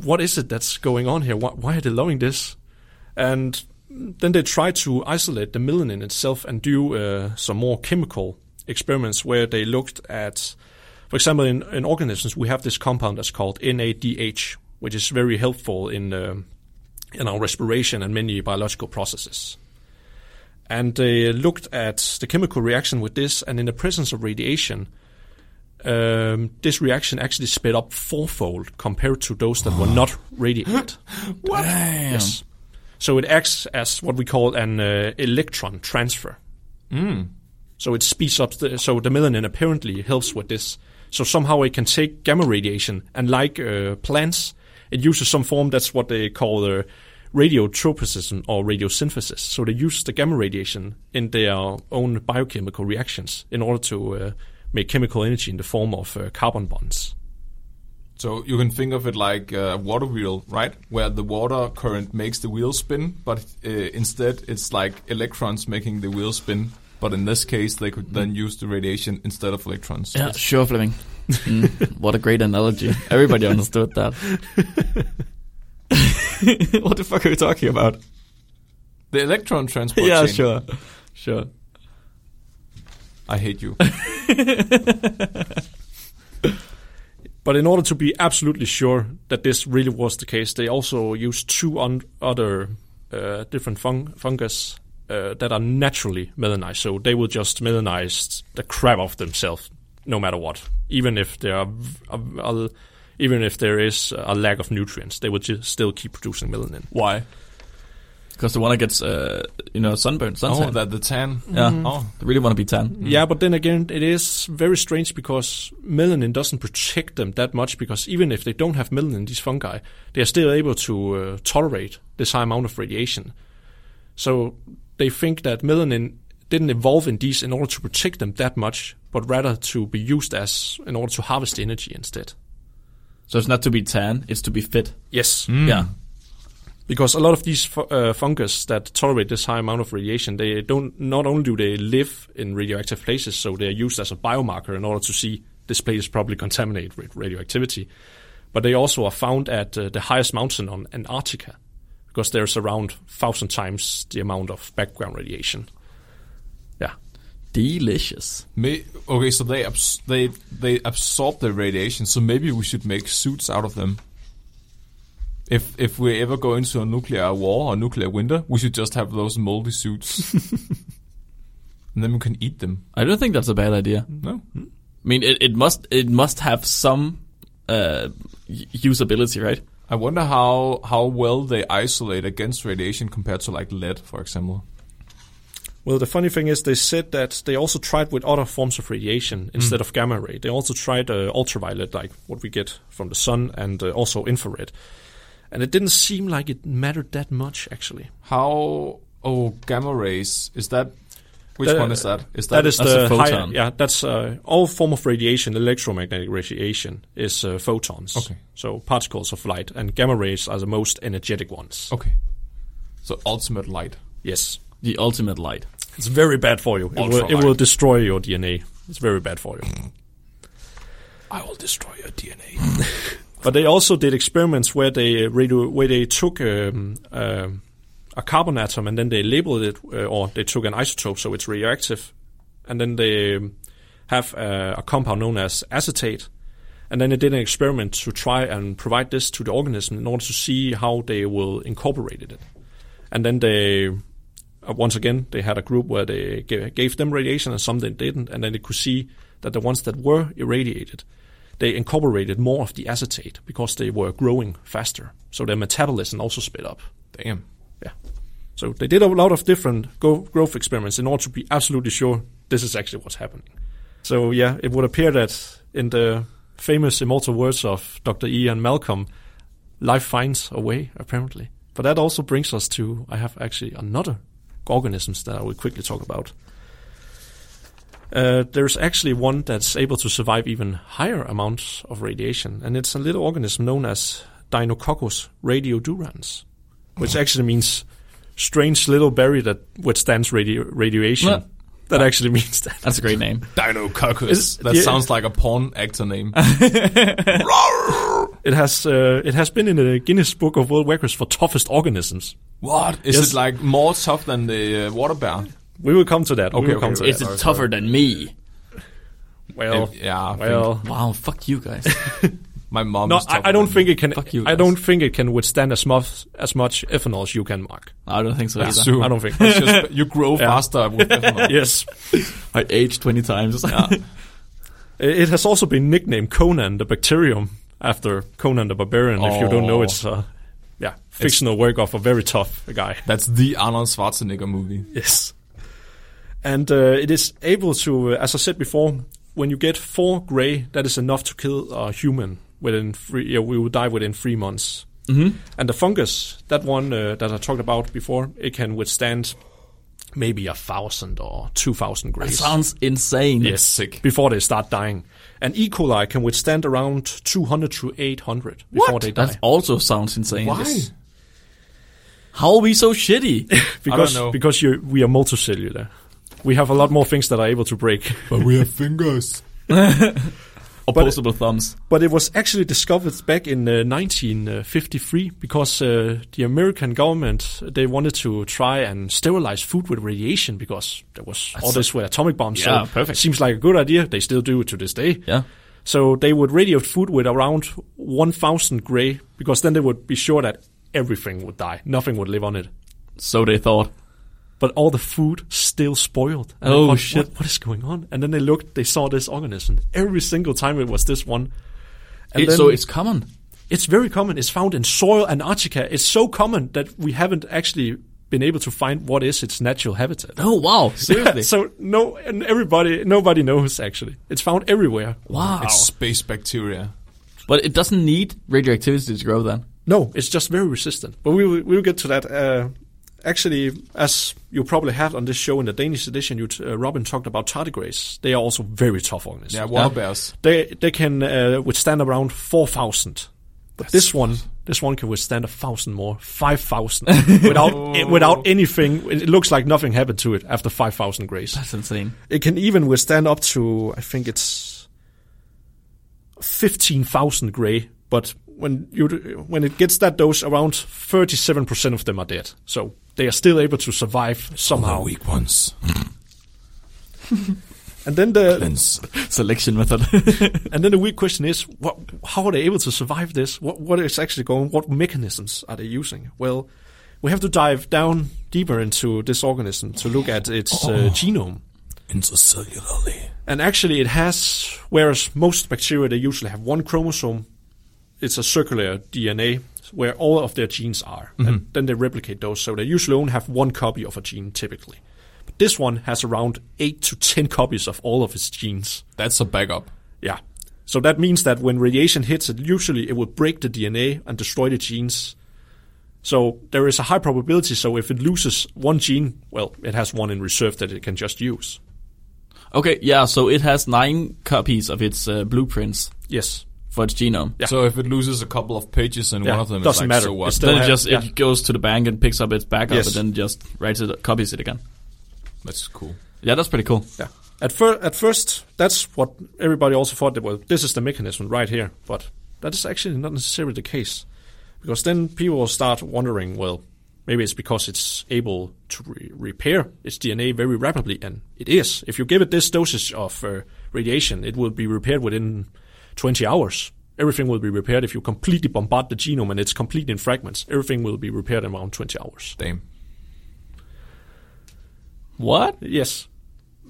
Speaker 3: what is it that's going on here why, why are they allowing this and then they tried to isolate the melanin itself and do uh, some more chemical experiments where they looked at for example in, in organisms we have this compound that's called NADH which is very helpful in um in our respiration and many biological processes and they looked at the chemical reaction with this and in the presence of radiation um, this reaction actually sped up fourfold compared to those that were not radiated.
Speaker 1: What?
Speaker 3: yes. So it acts as what we call an uh, electron transfer. So it speeds up. The, so the melanin apparently helps with this. So somehow it can take gamma radiation, and like uh, plants, it uses some form. That's what they call the radiotropism or radiosynthesis. So they use the gamma radiation in their own biochemical reactions in order to uh, make chemical energy in the form of uh, carbon bonds.
Speaker 1: So you can think of it like a water wheel, right? Where the water current makes the wheel spin, but uh, instead it's like electrons making the wheel spin. But in this case, they could then use the radiation instead of electrons.
Speaker 2: Yeah, sure, Fleming. Mm, what a great analogy. Everybody understood that. what the fuck are we talking about?
Speaker 1: The electron transport
Speaker 2: yeah,
Speaker 1: chain.
Speaker 2: sure. Sure.
Speaker 1: I hate you.
Speaker 3: But in order to be absolutely sure that this really was the case, they also used two un- other uh, different fung- fungus uh, that are naturally melanized. So they will just melanize the crap of themselves, no matter what. Even if there are, v- a- a- even if there is a lack of nutrients, they will just still keep producing melanin.
Speaker 1: Why?
Speaker 2: Because the one that gets, uh, you know, sunburn, suntan.
Speaker 1: Oh, that the tan.
Speaker 2: Yeah.
Speaker 1: Oh,
Speaker 2: I really want to be tan.
Speaker 3: Yeah, but then again, it is very strange because melanin doesn't protect them that much because even if they don't have melanin, these fungi, they are still able to uh, tolerate this high amount of radiation. So they think that melanin didn't evolve in these in order to protect them that much, but rather to be used as in order to harvest energy instead.
Speaker 2: So it's not to be tan, it's to be fit.
Speaker 3: Yes.
Speaker 2: Yeah.
Speaker 3: because a lot of these fu- uh, fungus that tolerate this high amount of radiation, they don't. Not only do they live in radioactive places, so they are used as a biomarker in order to see this place is probably contaminated with radioactivity, but they also are found at uh, the highest mountain on Antarctica, because there's around thousand times the amount of background radiation. Yeah,
Speaker 2: Delicious.
Speaker 1: May, okay, so they abs- they they absorb the radiation. So maybe we should make suits out of them. If if we ever go into a nuclear war or nuclear winter, we should just have those moldy suits, and then we can eat them.
Speaker 2: I don't think that's a bad idea.
Speaker 1: No,
Speaker 2: I mean, it, it must it must have some uh, u- usability, right?
Speaker 1: I wonder how how well they isolate against radiation compared to like lead, for example.
Speaker 3: Well, the funny thing is, they said that they also tried with other forms of radiation instead of gamma ray. They also tried uh, ultraviolet, like what we get from the sun, and uh, also infrared. And it didn't seem like it mattered that much, actually.
Speaker 1: How oh gamma rays is that? Which
Speaker 3: That-
Speaker 1: one is that? Is
Speaker 3: Uh, that is
Speaker 2: that's
Speaker 3: the
Speaker 2: a
Speaker 3: high-
Speaker 2: photon.
Speaker 3: yeah, that's uh, all form of radiation, electromagnetic radiation, is uh, photons.
Speaker 1: Okay.
Speaker 3: So particles of light, and gamma rays are the most energetic ones.
Speaker 1: okay? So ultimate light.
Speaker 3: Yes,
Speaker 2: The ultimate light.
Speaker 3: it's very bad for you. It will, it
Speaker 1: Ultraviolet.
Speaker 3: will destroy your DNA. It's very bad for you.
Speaker 1: I will destroy your DNA.
Speaker 3: But they also did experiments where they radio, where they took um, um a carbon atom and then they labeled it, uh, or they took an isotope so it's radioactive, and then they um, have uh, a compound known as acetate, and then they did an experiment to try and provide this to the organism in order to see how they will incorporate it. And then they, uh, once again, they had a group where they gave, gave them radiation and some they didn't, and then they could see that the ones that were irradiated, they incorporated more of the acetate because they were growing faster. So their metabolism also sped up.
Speaker 1: Damn.
Speaker 3: Yeah. So they did a lot of different go- growth experiments in order to be absolutely sure this is actually what's happening. So yeah, it would appear that in the famous immortal words of Dr. Ian Malcolm, life finds a way, apparently. But that also brings us to I have actually another organisms that I will quickly talk about. Uh, there's actually one that's able to survive even higher amounts of radiation, and it's a little organism known as Dinococcus radiodurans, which actually means strange little berry that withstands radio- radiation.
Speaker 2: Well-
Speaker 1: uh,
Speaker 3: That actually means that.
Speaker 2: That's a great name.
Speaker 1: Dino
Speaker 3: Is-
Speaker 1: That
Speaker 3: yeah.
Speaker 1: sounds like a porn actor name.
Speaker 3: It has uh, it has been in the Guinness Book of World Records for toughest organisms.
Speaker 1: what? Is
Speaker 3: Yes.
Speaker 1: it like more tough than the uh, water bear?
Speaker 3: We will come to that. we
Speaker 1: Okay,
Speaker 3: will
Speaker 1: okay,
Speaker 3: come to
Speaker 1: okay.
Speaker 2: Is
Speaker 3: that.
Speaker 2: it tougher than me?
Speaker 3: Well,
Speaker 1: If- yeah, I
Speaker 3: Oh. well,
Speaker 2: Wow, fuck you guys.
Speaker 1: My mom
Speaker 3: no,
Speaker 1: is tougher
Speaker 3: I, I don't
Speaker 1: than
Speaker 3: think it can.
Speaker 2: Fuck you
Speaker 3: I
Speaker 2: guys.
Speaker 3: don't think it can withstand as much as much ethanol as you can, Mark.
Speaker 2: I don't think so either.
Speaker 1: Soon.
Speaker 3: I don't think-
Speaker 1: It's just- you grow faster with ethanol.
Speaker 3: Yes,
Speaker 2: I aged 20 times.
Speaker 3: it it has also been nicknamed Conan the Bacterium after Conan the Barbarian. If you don't know,
Speaker 1: Oh.
Speaker 3: it's uh, yeah, fictional work of a very tough guy.
Speaker 1: That's the Arnold Schwarzenegger movie.
Speaker 3: Yes. And uh, it is able to, uh, as I said before, when you get four gray, that is enough to kill a human within three. Yeah, we will die within three months. Mm-hmm. And the fungus, that one uh, that I talked about before, it can withstand maybe a thousand or two thousand
Speaker 2: It
Speaker 3: grays
Speaker 2: sounds insane.
Speaker 1: It's sick.
Speaker 3: before they start dying. And E. coli can withstand around two hundred to eight hundred before they die.
Speaker 2: That also sounds insane.
Speaker 1: Why?
Speaker 2: Yes. How are we so shitty?
Speaker 3: Because
Speaker 1: know.
Speaker 3: because you we are multicellular. We have a lot more things that are able to break.
Speaker 1: But we have fingers.
Speaker 2: Opposable thumbs.
Speaker 3: But it was actually discovered back in uh, 1953 because uh, the American government they wanted to try and sterilize food with radiation because there was all this with atomic bombs.
Speaker 2: Yeah,
Speaker 3: so
Speaker 2: perfect.
Speaker 3: Seems like a good idea. They still do it to this day.
Speaker 2: Yeah.
Speaker 3: So they would radiate food with around 1,000 gray because then they would be sure that everything would die. Nothing would live on it.
Speaker 2: So they thought.
Speaker 3: But all the food still spoiled. And they
Speaker 2: Oh,
Speaker 3: thought,
Speaker 2: shit.
Speaker 3: What, what is going on? And then they looked. They saw this organism. Every single time it was this one. And
Speaker 2: It-
Speaker 3: then-
Speaker 2: so it's common.
Speaker 3: it's very common. It's found in soil and Antarctica. It's so common that we haven't actually been able to find what is its natural habitat.
Speaker 2: Oh, wow. Seriously.
Speaker 3: So no, and everybody, nobody knows actually. It's found everywhere.
Speaker 2: wow.
Speaker 1: It's space bacteria.
Speaker 2: But it doesn't need radioactivity to grow then.
Speaker 3: No, it's just very resistant. But we will, we will get to that. Uh, actually, as you probably had on this show in the Danish edition, you t- uh, Robin talked about tardigrades. They are also very tough organisms.
Speaker 1: Yeah, water bears.
Speaker 3: They they can uh, withstand around four thousand, but this one this one can withstand a thousand more, five thousand without eh, without anything. It it looks like nothing happened to it after five thousand grays.
Speaker 2: That's insane.
Speaker 3: It can even withstand up to I think it's fifteen thousand gray, but when you d- when it gets that dose, around 37% of them are dead. So they are still able to survive somehow.
Speaker 1: weak ones.
Speaker 3: And then the
Speaker 1: Cleanse.
Speaker 2: Selection method.
Speaker 3: and then the weird question is, what, how are they able to survive this? What what is actually going? What mechanisms are they using? Well, we have to dive down deeper into this organism to look at its uh, genome.
Speaker 1: Intracellularly.
Speaker 3: And actually, it has, whereas most bacteria, they usually have one chromosome, it's a circular DNA where all of their genes are. And then they replicate those. So they usually only have one copy of a gene typically. But this one has around eight to 10 copies of all of its genes.
Speaker 1: That's a backup.
Speaker 3: Yeah. So that means that when radiation hits it, usually it will break the DNA and destroy the genes. So there is a high probability. So if it loses one gene, well, it has one in reserve that it can just use.
Speaker 2: okay, yeah, so it has nine copies of its uh, blueprints
Speaker 3: Yes.
Speaker 2: for its genome.
Speaker 3: Yeah.
Speaker 1: So if it loses a couple of pages in
Speaker 3: Yeah,
Speaker 1: one of them,
Speaker 3: doesn't
Speaker 1: it's like,
Speaker 3: matter.
Speaker 1: so what?
Speaker 3: It's still-
Speaker 2: Then it
Speaker 3: have-
Speaker 2: just
Speaker 3: yeah.
Speaker 2: it goes to the bank and picks up its backup
Speaker 3: Yes.
Speaker 2: and then just writes it, copies it again.
Speaker 1: That's cool.
Speaker 2: Yeah, that's pretty cool.
Speaker 3: Yeah. At, fir- at first, that's what everybody also thought that, well, this is the mechanism right here. But that is actually not necessarily the case. Because then people will start wondering, well, maybe it's because it's able to re- repair its DNA very rapidly. And it is. If you give it this dosage of uh, radiation, it will be repaired within 20 hours. Everything will be repaired if you completely bombard the genome and it's complete in fragments. Everything will be repaired in around 20 hours.
Speaker 1: Damn.
Speaker 2: What?
Speaker 3: Yes.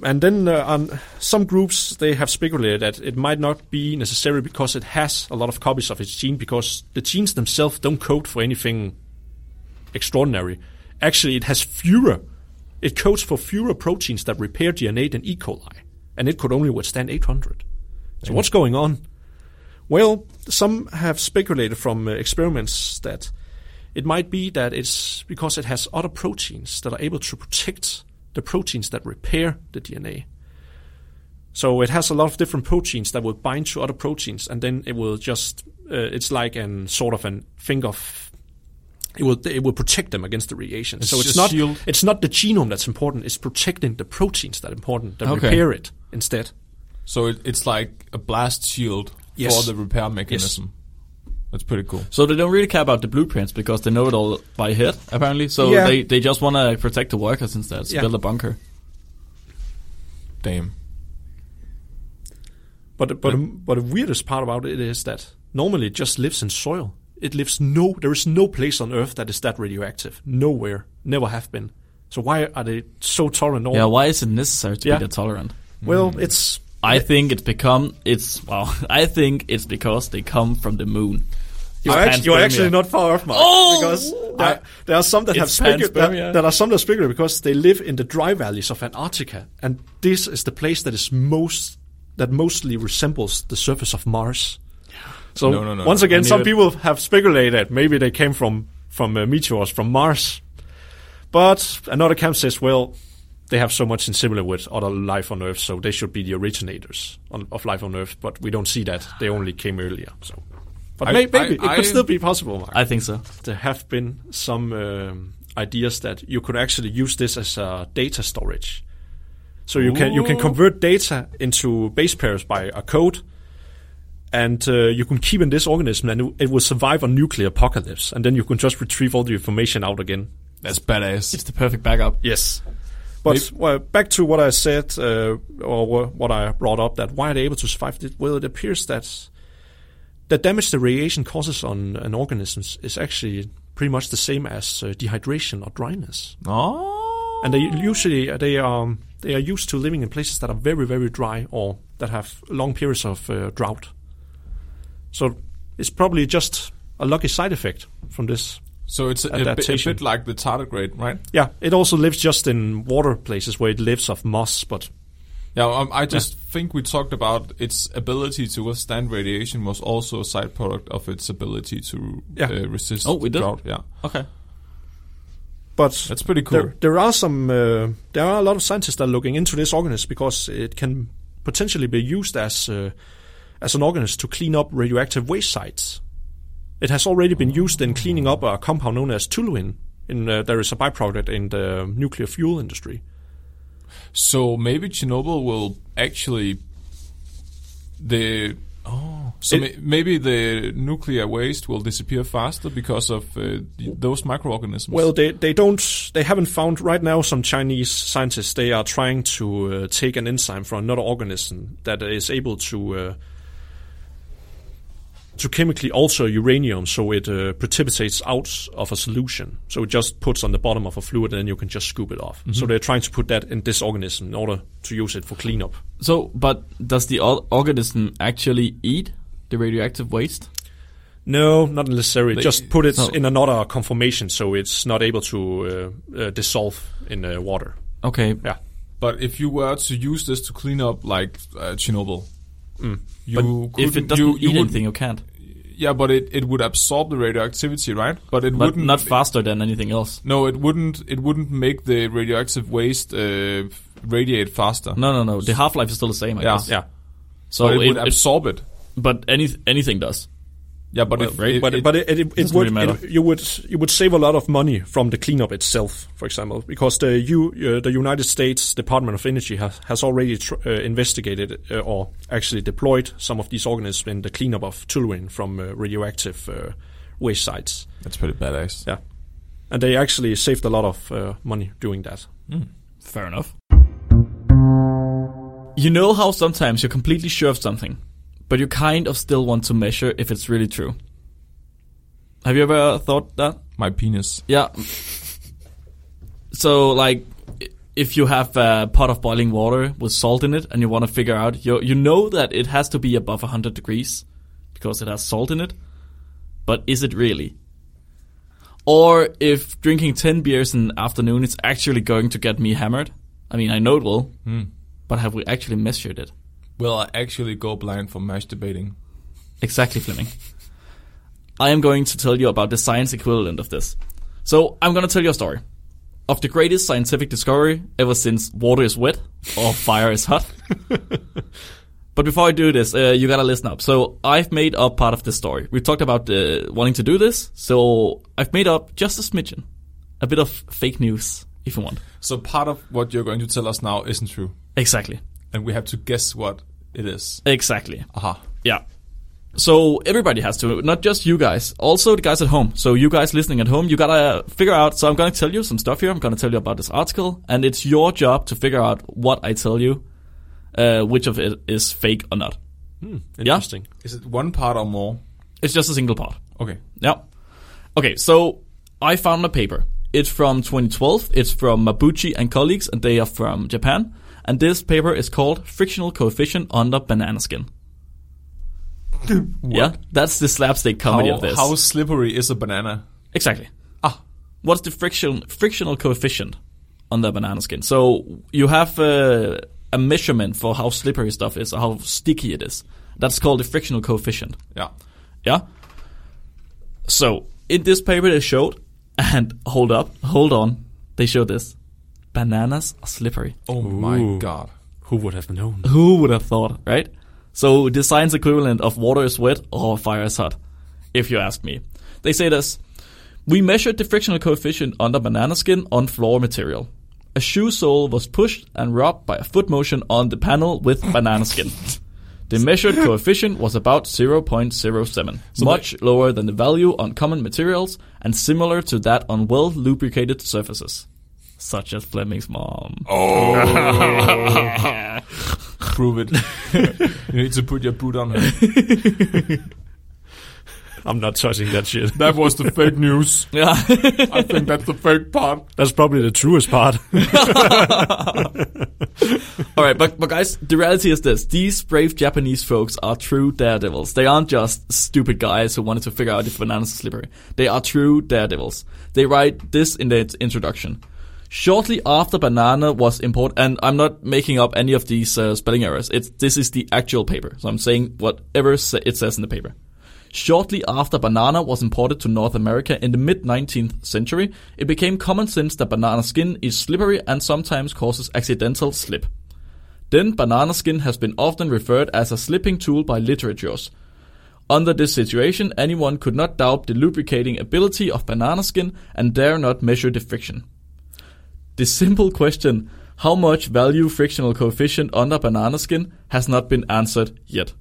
Speaker 3: And then uh, on some groups, they have speculated that it might not be necessary because it has a lot of copies of its gene, because the genes themselves don't code for anything extraordinary. Actually, it has fewer. It codes for fewer proteins that repair DNA than E. coli, and it could only withstand 800. So what's going on? Well, some have speculated from uh, experiments that it might be that it's because it has other proteins that are able to protect the proteins that repair the DNA. So it has a lot of different proteins that will bind to other proteins, and then it will just uh, it's like an sort of an finger. F- it will it will protect them against the radiation. so it's
Speaker 1: just
Speaker 3: not
Speaker 1: shield.
Speaker 3: it's not the genome that's important. It's protecting the proteins that are important that
Speaker 2: Okay.
Speaker 3: repair it instead.
Speaker 1: So it, it's like a blast shield
Speaker 3: Yes.
Speaker 1: for the repair mechanism. That's pretty cool.
Speaker 2: So they don't really care about the blueprints because they know it all by head, apparently. So
Speaker 3: Yeah.
Speaker 2: they, they just want to protect the workers instead, so
Speaker 3: Yeah.
Speaker 2: build a bunker.
Speaker 1: Damn.
Speaker 3: But but but the weirdest part about it is that normally it just lives in soil. It lives no. There is no place on Earth that is that radioactive. Nowhere. Never have been. So why are they so tolerant? All?
Speaker 2: Yeah, why is it necessary to
Speaker 3: Yeah.
Speaker 2: be that tolerant?
Speaker 3: Well, it's
Speaker 2: I think it's become it's well. I think it's because they come from the moon.
Speaker 3: you're,
Speaker 2: It's
Speaker 3: act- you're
Speaker 2: panspermia.
Speaker 3: actually not far off, Mark.
Speaker 2: Oh!
Speaker 3: because there, there are some that have
Speaker 2: It's
Speaker 3: speculated.
Speaker 2: panspermia.
Speaker 3: That, that are some that speculated because they live in the dry valleys of Antarctica, and this is the place that is most that mostly resembles the surface of Mars. So
Speaker 1: No, no, no,
Speaker 3: once
Speaker 1: no.
Speaker 3: again,
Speaker 1: I knew
Speaker 3: some
Speaker 1: it.
Speaker 3: people have speculated maybe they came from from uh, meteors from Mars, but another camp says, well, they have so much in similar with other life on Earth, so they should be the originators on, of life on Earth. But we don't see that; they only came earlier. So, but
Speaker 1: I-
Speaker 3: may, maybe
Speaker 1: I-
Speaker 3: it could
Speaker 1: I-
Speaker 3: still be possible. Mark.
Speaker 2: I think so.
Speaker 3: there have been some um, ideas that you could actually use this as a data storage. So you can you can convert data into base pairs by a code, and uh, you can keep in this organism, and it will survive a nuclear apocalypse, and then you can just retrieve all the information out again.
Speaker 1: That's badass.
Speaker 2: It's the perfect backup.
Speaker 3: Yes. But well, back to what I said, uh, or wh- what I brought up, that why are they able to survive? It? Well, it appears that the damage the radiation causes on an organism is actually pretty much the same as uh, dehydration or dryness.
Speaker 1: oh.
Speaker 3: And they usually uh, they are they are used to living in places that are very very dry or that have long periods of uh, drought. So it's probably just a lucky side effect from this.
Speaker 1: So it's a, a, bit, a
Speaker 3: Adaptation.
Speaker 1: bit like the tardigrade, right?
Speaker 3: Yeah, it also lives just in water places where it lives of moss, but
Speaker 1: Yeah, um, I just think we talked about its ability to withstand radiation was also a side product of its ability to
Speaker 3: Yeah.
Speaker 1: uh, resist
Speaker 2: Oh, we did?
Speaker 1: drought. Yeah,
Speaker 2: Okay.
Speaker 3: but
Speaker 1: that's pretty cool.
Speaker 3: There, there are some. Uh, there are a lot of scientists that are looking into this organism because it can potentially be used as uh, as an organism to clean up radioactive waste sites. It has already been used in cleaning up a compound known as toluene. In uh, there is a byproduct in the nuclear fuel industry.
Speaker 1: So maybe Chernobyl will actually the oh So
Speaker 3: It-
Speaker 1: may maybe the nuclear waste will disappear faster because of uh, th- those microorganisms.
Speaker 3: Well, they they don't they haven't found right now. Some Chinese scientists they are trying to uh, take an enzyme from another organism that is able to uh, to chemically alter uranium, so it uh, precipitates out of a solution. So it just puts on the bottom of a fluid, and then you can just scoop it off. So they're trying to put that in this organism in order to use it for cleanup.
Speaker 2: So, but does the or- organism actually eat the radioactive waste?
Speaker 3: No, not necessarily.
Speaker 1: They-
Speaker 3: just put it
Speaker 2: no.
Speaker 3: in another conformation, so it's not able to uh, uh, dissolve in uh, water.
Speaker 2: Okay,
Speaker 3: Yeah.
Speaker 1: but if you were to use this to clean up, like uh, Chernobyl, you
Speaker 2: if it
Speaker 1: couldn't-
Speaker 2: doesn't
Speaker 1: you, you
Speaker 2: eat
Speaker 1: wouldn't-
Speaker 2: anything, you can't.
Speaker 1: Yeah, but it, it would absorb the radioactivity, right? But it
Speaker 2: Not,
Speaker 1: wouldn't
Speaker 2: not faster than anything else.
Speaker 1: No, it wouldn't. It wouldn't make the radioactive waste uh, radiate faster.
Speaker 2: No, no, no. The half life is still the same. I
Speaker 1: Yeah.
Speaker 2: guess.
Speaker 3: Yeah.
Speaker 2: So
Speaker 1: but it,
Speaker 2: it,
Speaker 1: would
Speaker 2: it-
Speaker 1: absorb it.
Speaker 2: but any anything does.
Speaker 1: Yeah, but if,
Speaker 2: right,
Speaker 1: it,
Speaker 3: But
Speaker 1: it-
Speaker 3: but it, it, it,
Speaker 2: Doesn't
Speaker 3: would
Speaker 2: really matter.
Speaker 3: it, you would you would save a lot of money from the cleanup itself, for example, because the U, uh, the United States Department of Energy has has already tr- uh, investigated uh, or actually deployed some of these organisms in the cleanup of toluene from uh, radioactive uh, waste sites.
Speaker 1: that's pretty badass.
Speaker 3: Yeah, and they actually saved a lot of uh, money doing that.
Speaker 2: Fair enough. You know how sometimes you're completely sure of something, but you kind of still want to measure if it's really true. Have you ever thought that?
Speaker 1: My penis.
Speaker 2: Yeah. So like i- if you have a pot of boiling water with salt in it and you want to figure out you you know that it has to be above 100 degrees because it has salt in it. But is it really? Or if drinking 10 beers in the afternoon is actually going to get me hammered? I mean, I know it will. But have we actually measured it?
Speaker 1: Will I actually go blind from masturbating?
Speaker 2: Exactly, Fleming. I am going to tell you about the science equivalent of this. So, I'm going to tell you a story of the greatest scientific discovery ever since water is wet or fire is hot. but before I do this, uh, you gotta listen up. So, I've made up part of this story. We talked about uh, wanting to do this, so I've made up just a smidgen. A bit of fake news, if you want.
Speaker 1: So part of what you're going to tell us now isn't true,
Speaker 2: Exactly.
Speaker 1: and we have to guess what it is.
Speaker 2: Exactly.
Speaker 1: Aha.
Speaker 2: Yeah. So everybody has to, not just you guys, also the guys at home. So you guys listening at home, you gotta figure out. So I'm gonna tell you some stuff here. I'm gonna tell you about this article, and it's your job to figure out what I tell you, uh, which of it is fake or not.
Speaker 3: Interesting.
Speaker 1: Is it one part or more?
Speaker 2: It's just a single part.
Speaker 1: Okay.
Speaker 2: Yeah. Okay, so I found a paper. It's from 2012. It's from Mabuchi and colleagues, and they are from Japan. And this paper is called "Frictional Coefficient Under Banana Skin." yeah, that's the slapstick comedy
Speaker 1: How,
Speaker 2: of this.
Speaker 1: how slippery is a banana?
Speaker 2: Exactly. Ah, what's the friction frictional coefficient on the banana skin? So you have uh, a measurement for how slippery stuff is, or how sticky it is. That's called the frictional coefficient.
Speaker 1: Yeah.
Speaker 2: Yeah. So in this paper they showed, and hold up, hold on, they showed this: bananas are slippery.
Speaker 1: Oh my
Speaker 3: Ooh.
Speaker 1: god.
Speaker 3: Who would have known?
Speaker 2: Who would have thought, right? So the science equivalent of water is wet or fire is hot, if you ask me. They say this. We measured the frictional coefficient under banana skin on floor material. A shoe sole was pushed and rubbed by a foot motion on the panel with banana skin. The measured coefficient was about 0.07, much lower than the value on common materials and similar to that on well lubricated surfaces, such as Fleming's mom.
Speaker 1: Oh. Prove it. you need to put your boot on her.
Speaker 3: I'm not touching that shit.
Speaker 1: That was the fake news.
Speaker 2: Yeah.
Speaker 1: I think that's the fake part.
Speaker 3: That's probably the truest part.
Speaker 2: All right, but but guys, the reality is this: these brave Japanese folks are true daredevils. They aren't just stupid guys who wanted to figure out if bananas are slippery. They are true daredevils. They write this in their introduction. Shortly after banana was imported, and I'm not making up any of these uh, spelling errors. It's this is the actual paper, so I'm saying whatever sa- it says in the paper. Shortly after banana was imported to North America in the mid 19th century, it became common sense that banana skin is slippery and sometimes causes accidental slip. Then banana skin has been often referred as a slipping tool by literatures. Under this situation, anyone could not doubt the lubricating ability of banana skin and dare not measure the friction. The simple question, how much value frictional coefficient under banana skin, has not been answered yet.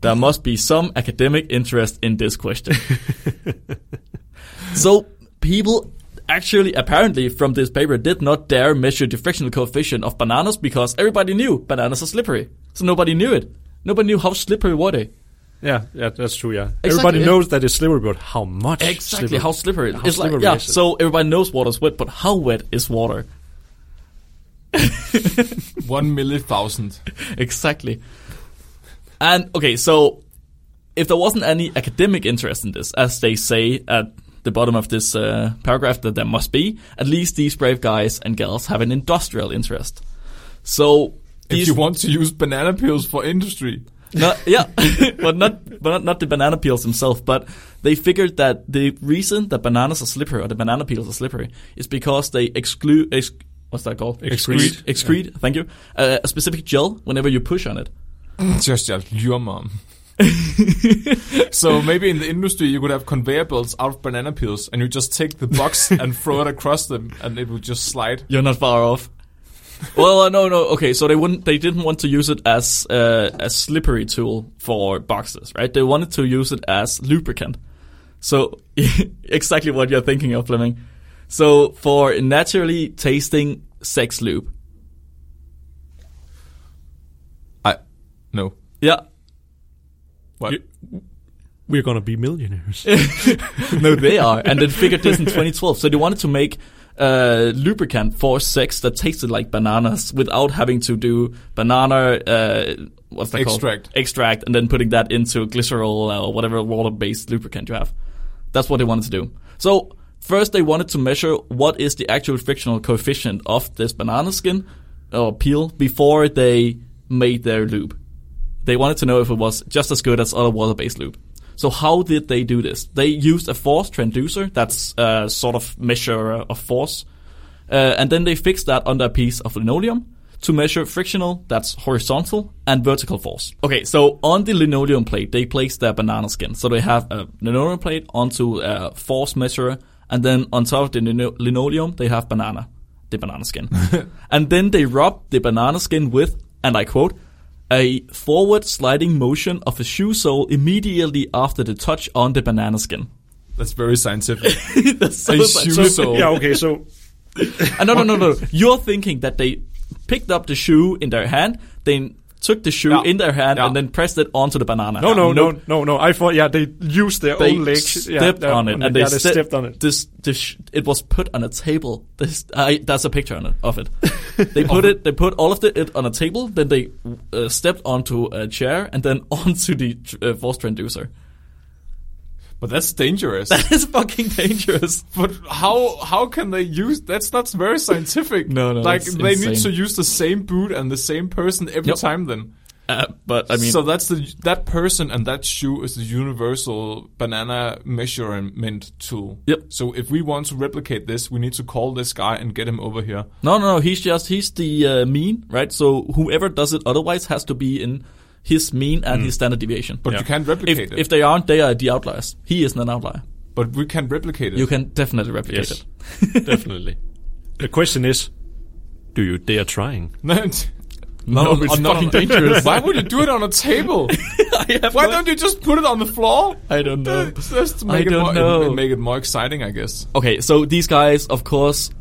Speaker 2: There must be some academic interest in this question. so people actually apparently from this paper did not dare measure the frictional coefficient of bananas because everybody knew bananas are slippery. So nobody knew it. Nobody knew how slippery were they.
Speaker 3: Yeah, yeah, that's true. Yeah,
Speaker 2: Exactly,
Speaker 3: everybody
Speaker 2: yeah.
Speaker 3: knows that it's slippery, but how much?
Speaker 2: Exactly
Speaker 3: slippery?
Speaker 2: how slippery.
Speaker 3: How
Speaker 2: it's like
Speaker 3: slippery
Speaker 2: yeah.
Speaker 3: is it?
Speaker 2: So everybody knows water's wet, but how wet is water?
Speaker 1: One millithousand.
Speaker 2: exactly. And okay, so if there wasn't any academic interest in this, as they say at the bottom of this uh, paragraph that there must be, at least these brave guys and girls have an industrial interest. So
Speaker 1: If
Speaker 2: these,
Speaker 1: you want to use banana peels for industry,
Speaker 2: no, yeah, but not but not, not the banana peels themselves. But they figured that the reason that bananas are slippery or the banana peels are slippery is because they exclude. Ex- what's that called?
Speaker 3: Excrete.
Speaker 2: Excrete. Thank you. Uh, a specific gel whenever you push on it.
Speaker 1: just just your mom. so maybe in the industry you could have conveyor belts out of banana peels, and you just take the box and throw it across them, and it would just slide.
Speaker 2: You're not far off. well, uh, no, no. Okay, so they wouldn't. They didn't want to use it as uh, a slippery tool for boxes, right? They wanted to use it as lubricant. So exactly what you're thinking of, Fleming. So for naturally tasting sex lube.
Speaker 1: I no.
Speaker 2: Yeah.
Speaker 1: What?
Speaker 3: You- We're gonna be millionaires.
Speaker 2: No, they are, and they figured this in 2012. So they wanted to make uh, lubricant for sex that tasted like bananas without having to do banana. Uh, what's that
Speaker 1: Extract.
Speaker 2: called? Extract, and then putting that into glycerol uh, or whatever water-based lubricant you have. That's what they wanted to do. So first, they wanted to measure what is the actual frictional coefficient of this banana skin or peel before they made their lube. They wanted to know if it was just as good as other water-based lube. So how did they do this? They used a force transducer, that's a sort of measure of force, uh, and then they fixed that under a piece of linoleum to measure frictional, that's horizontal, and vertical force. Okay, so on the linoleum plate, they place their banana skin. So they have a linoleum plate onto a force measurer, and then on top of the lino- linoleum, they have banana, the banana skin. and then they rub the banana skin with, and I quote, a forward sliding motion of a shoe sole immediately after the touch on the banana skin.
Speaker 1: That's very scientific.
Speaker 2: That's so
Speaker 1: A
Speaker 2: much-
Speaker 1: shoe sole.
Speaker 3: yeah. Okay. So
Speaker 2: Uh, no, no, no, no. You're thinking that they picked up the shoe in their hand, then took the shoe
Speaker 1: Yeah.
Speaker 2: in their hand,
Speaker 1: Yeah.
Speaker 2: and then pressed it onto the banana.
Speaker 3: no, no,
Speaker 2: Nope.
Speaker 3: no, no, no. I thought yeah they used their
Speaker 2: They
Speaker 3: own legs. yeah,
Speaker 2: stepped
Speaker 3: yeah,
Speaker 2: on it, and
Speaker 3: yeah,
Speaker 2: they,
Speaker 3: they
Speaker 2: ste-
Speaker 3: stepped on it.
Speaker 2: This, this, sh- it was put on a table. This, I, that's a picture on it, of it. They put it, they put all of the, it on a table. Then they uh, stepped onto a chair and then onto the uh, force transducer.
Speaker 1: but that's dangerous.
Speaker 2: It's fucking dangerous.
Speaker 1: But how how can they use? That's not very scientific.
Speaker 2: No, no,
Speaker 1: like
Speaker 2: that's
Speaker 1: they need to
Speaker 2: insane.
Speaker 1: use the same boot and the same person every
Speaker 2: Yep.
Speaker 1: time. Then,
Speaker 2: Uh, but I mean,
Speaker 1: so that's the that person and that shoe is the universal banana measurement tool.
Speaker 2: Yep.
Speaker 1: So if we want to replicate this, we need to call this guy and get him over here.
Speaker 2: No, no, no. He's just he's the uh, mean, right? So whoever does it otherwise has to be in his mean and his standard deviation.
Speaker 1: But you can't
Speaker 2: if,
Speaker 1: replicate it.
Speaker 2: if they aren't, they are the outliers. He isn't an outlier.
Speaker 1: but we can replicate it.
Speaker 2: You can definitely replicate
Speaker 3: Yes.
Speaker 2: it.
Speaker 3: Definitely. The question is, do you dare trying?
Speaker 1: no,
Speaker 2: No,
Speaker 1: no,
Speaker 2: it's
Speaker 1: no,
Speaker 2: fucking
Speaker 1: no.
Speaker 2: dangerous.
Speaker 1: Why would you do it on a table?
Speaker 2: I have
Speaker 1: Why
Speaker 2: no-
Speaker 1: don't you just put it on the floor?
Speaker 2: I don't know.
Speaker 1: Just to make
Speaker 2: I
Speaker 1: it more,
Speaker 2: don't know.
Speaker 1: make it more exciting, I guess.
Speaker 2: Okay, so these guys, of course,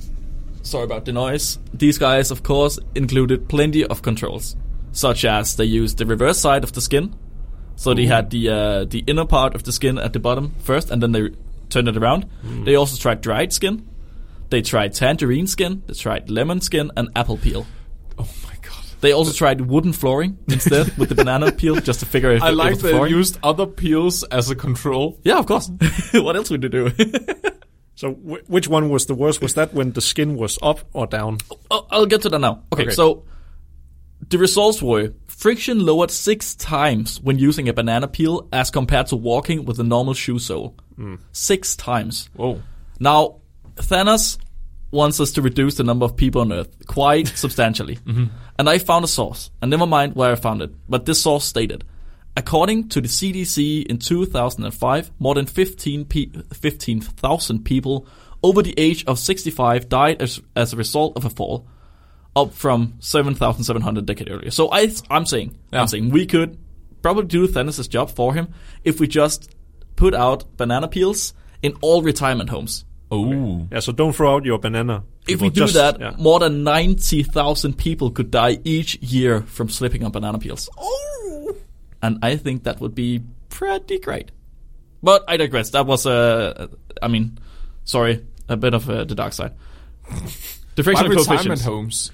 Speaker 2: sorry about the noise. These guys, of course, included plenty of controls, such as they used the reverse side of the skin. So
Speaker 1: Mm.
Speaker 2: they had the uh, the inner part of the skin at the bottom first, and then they turned it around.
Speaker 1: Mm.
Speaker 2: They also tried dried skin. They tried tangerine skin. They tried lemon skin and apple peel.
Speaker 1: Oh my god.
Speaker 2: They also tried wooden flooring instead with the banana peel, just to figure if
Speaker 1: I
Speaker 2: it, it
Speaker 1: like
Speaker 2: was
Speaker 1: that
Speaker 2: flooring.
Speaker 1: they used other peels as a control.
Speaker 2: yeah, of course. what else would they do?
Speaker 3: So wh- which one was the worst? Was that when the skin was up or down?
Speaker 2: I'll, Oh, I'll get to that now. Okay,
Speaker 3: Okay.
Speaker 2: so the results were friction lowered six times when using a banana peel as compared to walking with a normal shoe sole. Six times.
Speaker 1: Whoa.
Speaker 2: Now, Thanos wants us to reduce the number of people on Earth quite substantially. And I found a source, and never mind where I found it, but this source stated according to the CDC in 2005, more than 15 pe- 15,000 people over the age of 65 died as, as a result of a fall, up from 7,700 a decade earlier. So I, I'm saying,
Speaker 1: Yeah.
Speaker 2: I'm saying we could probably do Thanos' job for him if we just put out banana peels in all retirement homes.
Speaker 1: Oh,
Speaker 3: Yeah, so don't throw out your banana.
Speaker 2: If
Speaker 3: people.
Speaker 2: we do
Speaker 3: Just-
Speaker 2: that,
Speaker 3: yeah.
Speaker 2: more than 90,000 people could die each year from slipping on banana peels. Oh! And I think that would be pretty great. But I digress. That was, uh, I mean, sorry, a bit of uh, the dark side. The
Speaker 1: why
Speaker 2: frictional
Speaker 1: retirement
Speaker 2: coefficients.
Speaker 1: homes?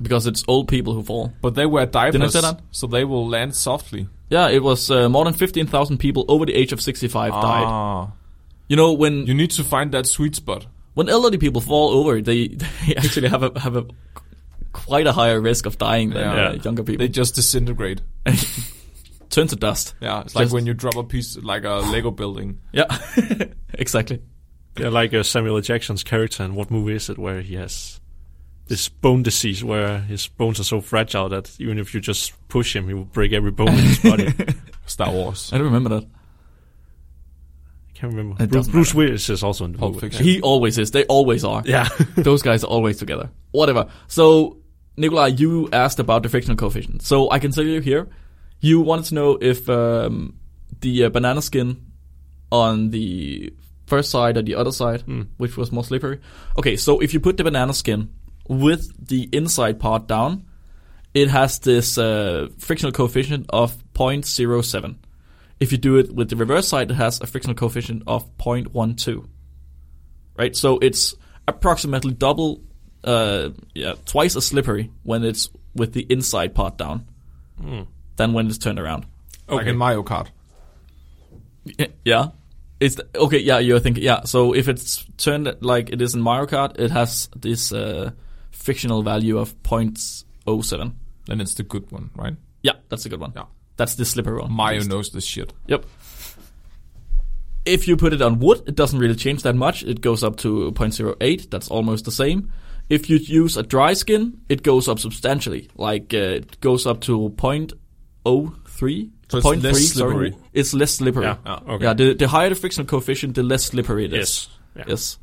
Speaker 2: Because it's old people who fall.
Speaker 1: But they wear diapers,
Speaker 2: say that?
Speaker 1: so they will land softly.
Speaker 2: Yeah, it was uh, more than 15,000 people over the age of 65 died.
Speaker 1: Ah,
Speaker 2: You know, when
Speaker 1: you need to find that sweet spot.
Speaker 2: when elderly people fall over, they, they actually have a, have a quite a higher risk of dying than
Speaker 1: Yeah.
Speaker 2: uh, younger people.
Speaker 1: They just disintegrate.
Speaker 2: turn to dust.
Speaker 1: Yeah, it's like
Speaker 2: Just-
Speaker 1: when you drop a piece, like a Lego building.
Speaker 2: Yeah, exactly.
Speaker 3: Yeah, like uh, Samuel L. Jackson's character in what movie is it where he has this bone disease where his bones are so fragile that even if you just push him, he will break every bone in his body. I
Speaker 1: Star Wars.
Speaker 2: I don't remember that.
Speaker 3: can't remember.
Speaker 2: It
Speaker 3: Bruce,
Speaker 2: doesn't
Speaker 3: Bruce Willis is also in the
Speaker 1: Pulp
Speaker 3: movie.
Speaker 1: Fiction.
Speaker 2: He always is. They always are.
Speaker 3: Yeah.
Speaker 2: Those guys are always together. Whatever. So, Nikolai, you asked about the frictional coefficient. So I can tell you here, you wanted to know if um, the uh, banana skin on the first side or the other side, which was more slippery. Okay, so if you put the banana skin with the inside part down, it has this uh, frictional coefficient of 0.07. If you do it with the reverse side, it has a frictional coefficient of 0.12. Right? So it's approximately double, uh, yeah, twice as slippery when it's with the inside part down than when it's turned around.
Speaker 1: Like in Mario Kart.
Speaker 2: Y- Yeah. It's th- okay. Yeah, you're thinking. Yeah, so if it's turned like it is in Mario Kart, it has this uh, fictional value of 0.07.
Speaker 1: Then it's the good one, right?
Speaker 2: Yeah, that's a good one.
Speaker 1: Yeah.
Speaker 2: That's the slippery one.
Speaker 1: Mario knows this shit.
Speaker 2: Yep. If you put it on wood, it doesn't really change that much. It goes up to 0.08. That's almost the same. If you use a dry skin, it goes up substantially. Like uh, it goes up to 0.03.
Speaker 1: So it's less
Speaker 2: sorry.
Speaker 1: slippery. Ah,
Speaker 2: It's less slippery.
Speaker 3: Yeah, yeah, okay.
Speaker 2: Yeah, the, the higher the frictional coefficient, the less slippery it is.
Speaker 3: Yes. Yeah.
Speaker 2: Yes.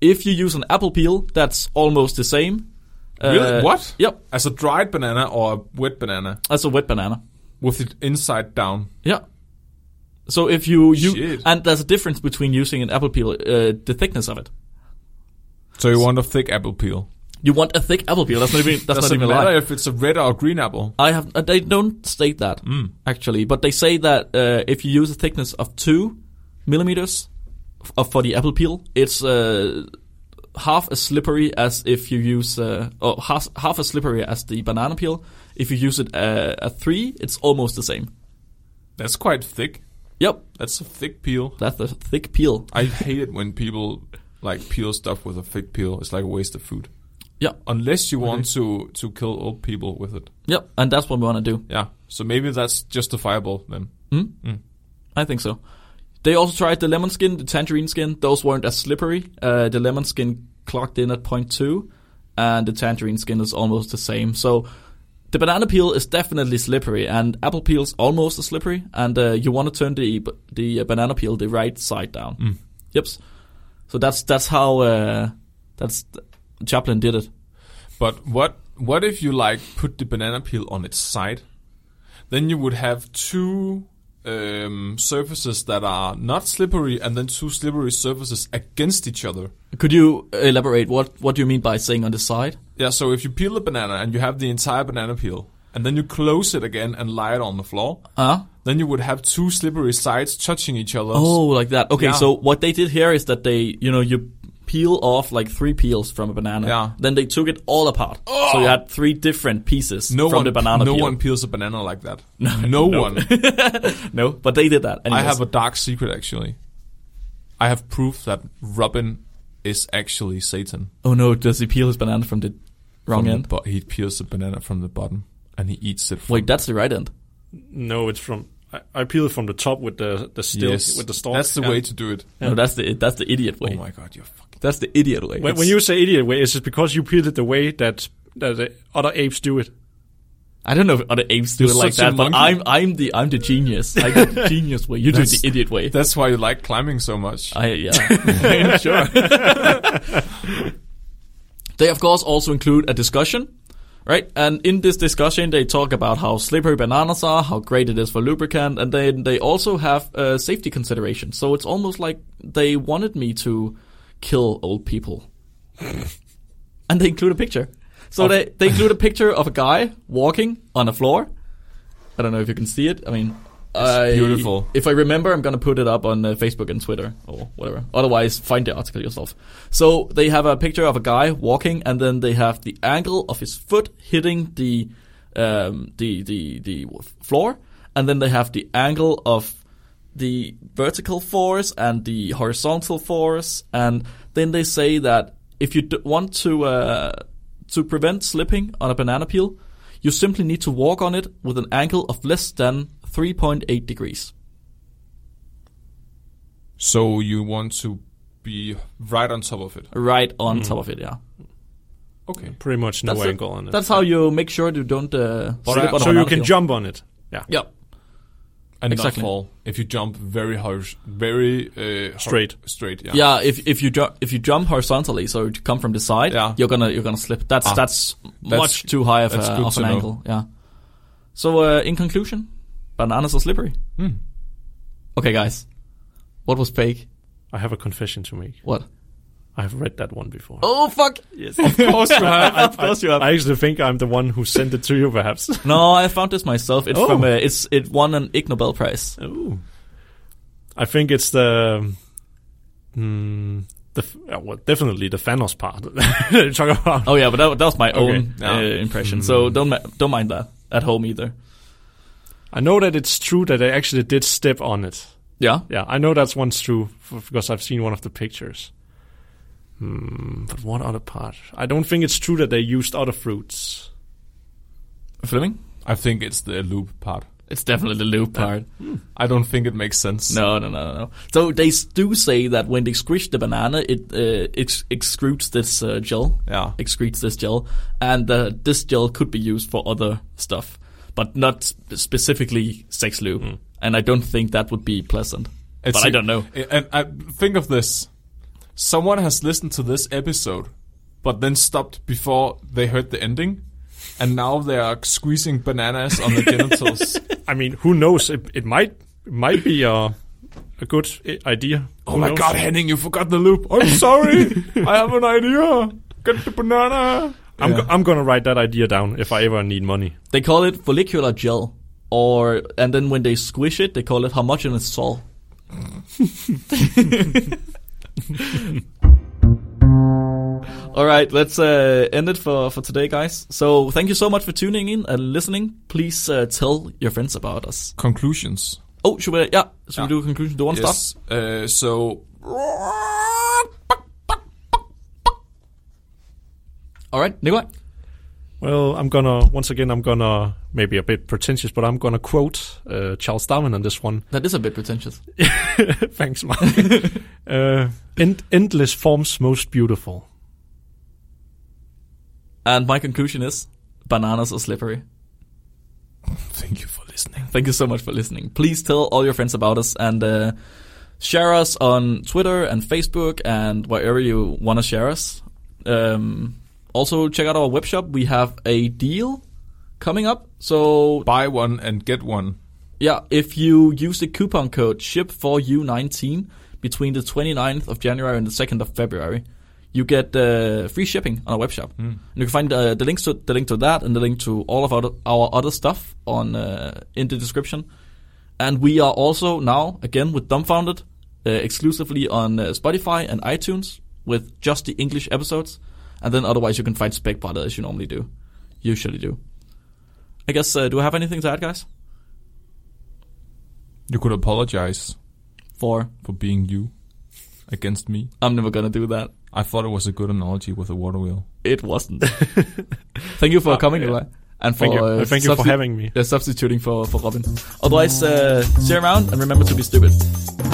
Speaker 2: If you use an apple peel, that's almost the same. Uh,
Speaker 1: Really? What?
Speaker 2: Yep.
Speaker 1: As a dried banana or a wet banana
Speaker 2: That's a wet banana.
Speaker 1: with it inside down.
Speaker 2: Yeah. So if you you
Speaker 1: Shit.
Speaker 2: and there's a difference between using an apple peel, uh, the thickness of it.
Speaker 1: So you want a thick apple peel.
Speaker 2: You want a thick apple peel. That's not even that's
Speaker 1: Does
Speaker 2: not
Speaker 1: it
Speaker 2: even a
Speaker 1: matter
Speaker 2: lie.
Speaker 1: if it's a red or a green apple?
Speaker 2: I have. Uh, they don't state that
Speaker 1: Mm.
Speaker 2: actually, but they say that uh, if you use a thickness of two millimeters f- of for the apple peel, it's uh, half as slippery as if you use uh, or half half as slippery as the banana peel. If you use it uh, at three, it's almost the same.
Speaker 1: That's quite thick.
Speaker 2: Yep,
Speaker 1: That's a thick peel.
Speaker 2: that's a thick peel.
Speaker 1: I hate it when people like peel stuff with a thick peel. It's like a waste of food.
Speaker 2: Yeah,
Speaker 1: Unless you want to to kill old people with it.
Speaker 2: yep, and that's what we want to do.
Speaker 1: Yeah. So maybe that's justifiable then.
Speaker 2: I think so. They also tried the lemon skin, the tangerine skin. Those weren't as slippery. Uh, the lemon skin clocked in at 0.2, and the tangerine skin is almost the same. So the banana peel is definitely slippery, and apple peel's almost as slippery. And uh, you want to turn the the uh, banana peel the right side down. Yep. So that's that's how uh, that's Chaplin did it.
Speaker 1: But what what if you like put the banana peel on its side? Then you would have two um, surfaces that are not slippery, and then two slippery surfaces against each other.
Speaker 2: Could you elaborate what what do you mean by saying on the side?
Speaker 1: Yeah. So if you peel the banana and you have the entire banana peel, and then you close it again and lie it on the floor,
Speaker 2: Huh?
Speaker 1: then you would have two slippery sides touching each other.
Speaker 2: Oh, like that. Okay,
Speaker 1: Yeah.
Speaker 2: so what they did here is that they, you know, you peel off like three peels from a banana.
Speaker 1: Yeah. Oh!
Speaker 2: Then they took it all apart. So you had three different pieces
Speaker 1: No
Speaker 2: from
Speaker 1: one,
Speaker 2: the banana
Speaker 1: no
Speaker 2: peel.
Speaker 1: one peels a banana like that. No, one.
Speaker 2: no, but they did that.
Speaker 1: I
Speaker 2: anyways.
Speaker 1: have a dark secret actually. I have proof that Robin is actually Satan.
Speaker 2: Oh no, does he peel his banana from the wrong
Speaker 1: from the
Speaker 2: end?
Speaker 1: bo- he peels the banana from the bottom and he eats it. From
Speaker 2: Wait, that's the right end.
Speaker 3: No, it's from. I, I peel it from the top with the the still
Speaker 1: yes,
Speaker 3: with the stalk.
Speaker 1: That's the
Speaker 3: Yeah.
Speaker 1: way to do it.
Speaker 2: No, that's the that's the idiot way.
Speaker 1: Oh my god, you're fucking.
Speaker 2: That's the idiot way.
Speaker 3: When, when you say idiot way, is it because you peeled it the way that that the other apes do it?
Speaker 2: I don't know if other apes do
Speaker 1: You're
Speaker 2: it like
Speaker 1: such a
Speaker 2: that, but
Speaker 1: monkey.
Speaker 2: I'm I'm the I'm the genius. I do the genius way. You do
Speaker 1: That's-
Speaker 2: the idiot way.
Speaker 1: That's why you like climbing so much.
Speaker 2: I, yeah, I'm sure. they, of course, also include a discussion Right, and in this discussion, they talk about how slippery bananas are, how great it is for lubricant, and then they also have uh, safety considerations. So it's almost like they wanted me to kill old people, and they include a picture. So they they include a picture of a guy walking on a floor. I don't know if you can see it. I mean, I-
Speaker 1: beautiful.
Speaker 2: If I remember, I'm gonna put it up on uh, Facebook and Twitter or whatever. Otherwise, find the article yourself. So they have a picture of a guy walking, and then they have the angle of his foot hitting the um, the the the floor, and then they have the angle of the vertical force and the horizontal force, and then they say that if you d- want to uh, to prevent slipping on a banana peel, you simply need to walk on it with an angle of less than 3.8 degrees.
Speaker 1: So you want to be right on top of it.
Speaker 2: Right on top of it, yeah.
Speaker 1: Okay.
Speaker 3: Pretty much Mm-hmm. no
Speaker 2: That's it.
Speaker 3: angle on it.
Speaker 2: That's how you make sure you don't uh,
Speaker 3: so,
Speaker 2: slip on a
Speaker 3: so you
Speaker 2: banana
Speaker 3: can
Speaker 2: peel.
Speaker 3: jump on it. Yeah.
Speaker 2: Yep.
Speaker 1: And
Speaker 2: Exactly.
Speaker 1: not fall if you jump very hor- very uh, hor-
Speaker 3: Straight.
Speaker 1: straight. Yeah.
Speaker 2: Yeah, if if you ju- if you jump horizontally, so you come from the side,
Speaker 1: Yeah.
Speaker 2: you're gonna you're gonna slip. That's
Speaker 1: Ah.
Speaker 2: that's,
Speaker 1: That's-
Speaker 2: much too high of,
Speaker 1: that's
Speaker 2: a,
Speaker 1: good
Speaker 2: of
Speaker 1: to
Speaker 2: an
Speaker 1: know.
Speaker 2: angle. Yeah. So uh, in conclusion, bananas are slippery.
Speaker 1: Hmm.
Speaker 2: Okay, guys, what was fake?
Speaker 3: I have a confession to make.
Speaker 2: What?
Speaker 3: I've read that one before.
Speaker 2: Oh fuck!
Speaker 3: yes. Of course you have. of
Speaker 2: course you have.
Speaker 3: I actually think I'm the one who sent it to you, perhaps.
Speaker 2: No, I found this myself. It's
Speaker 3: Oh.
Speaker 2: from uh, it's it won an Ig Nobel Prize.
Speaker 3: Ooh. I think it's the. Mm, the f- uh, well, definitely the Thanos part that you talk about.
Speaker 2: Oh yeah, but that, that was my own
Speaker 1: yeah.
Speaker 2: uh, impression.
Speaker 3: Mm.
Speaker 2: So don't ma- don't mind that at home either.
Speaker 3: I know that it's true that I actually did step on it.
Speaker 2: Yeah.
Speaker 3: Yeah, I know that's one's true f- because I've seen one of the pictures. Hmm, but what other part? I don't think it's true that they used other fruits.
Speaker 2: Fleming.
Speaker 1: I think it's the loop part.
Speaker 2: It's definitely the loop part.
Speaker 1: I don't think it makes sense.
Speaker 2: No, no, no, no, no. So they s- do say that when they squish the banana, it uh, ex- excretes this uh, gel,
Speaker 1: Yeah.
Speaker 2: excretes this gel, and uh, this gel could be used for other stuff, but not sp- specifically sex lube. And I don't think that would be pleasant. but I I don't know.
Speaker 1: And I think of this: someone has listened to this episode, but then stopped before they heard the ending, and now they are squeezing bananas on the genitals.
Speaker 3: I mean, who knows? It, it might it might be a, a good i- idea.
Speaker 1: Oh my God, Henning, you forgot the loop. I'm sorry. I have an idea. Get the banana.
Speaker 3: I'm,
Speaker 1: Yeah.
Speaker 3: go- I'm gonna write that idea down if I ever need money.
Speaker 2: They call it follicular gel, or and then when they squish it, they call it homogeneous sol. All right, let's uh, end it for, for today, guys. So thank you so much for tuning in and listening. Please uh, tell your friends about us.
Speaker 1: Conclusions.
Speaker 2: Oh, should we? Yeah, should we
Speaker 1: Yeah.
Speaker 2: do a conclusion? Do one stop?
Speaker 1: Yes. Uh, so
Speaker 2: All right, Nikolai.
Speaker 3: Well, I'm gonna once again. I'm gonna maybe a bit pretentious, but I'm gonna quote uh, Charles Darwin on this one.
Speaker 2: That is a bit pretentious.
Speaker 3: Thanks, Mark. uh, end, endless forms, most beautiful.
Speaker 2: And my conclusion is bananas are slippery.
Speaker 1: thank you for listening.
Speaker 2: Thank you so much for listening. Please tell all your friends about us and uh, share us on Twitter and Facebook and wherever you want to share us. Um, also, check out our webshop. We have a deal coming up. So,
Speaker 1: Buy one and get one.
Speaker 2: yeah, if you use the coupon code SHIP4U19 between the 29th of January and the 2nd of February, you get uh, free shipping on our webshop. And you can find uh, the links to the link to that and the link to all of our, our other stuff on uh, in the description. And we are also now again with Dumbfounded uh, exclusively on uh, Spotify and iTunes with just the English episodes. And then otherwise you can find SpecBotter as you normally do, usually do. I guess uh, do I have anything to add, guys?
Speaker 1: You could apologize
Speaker 2: For
Speaker 1: for being you against me.
Speaker 2: I'm never gonna do that.
Speaker 1: I thought it was a good analogy with a water wheel.
Speaker 2: It wasn't. thank you for coming,
Speaker 3: Ah, yeah.
Speaker 2: Eli. And for
Speaker 3: Thank you.
Speaker 2: uh,
Speaker 3: Thank you for
Speaker 2: substi-
Speaker 3: having me.
Speaker 2: yeah, substituting for for Robin. Otherwise, uh, see you around and remember to be stupid.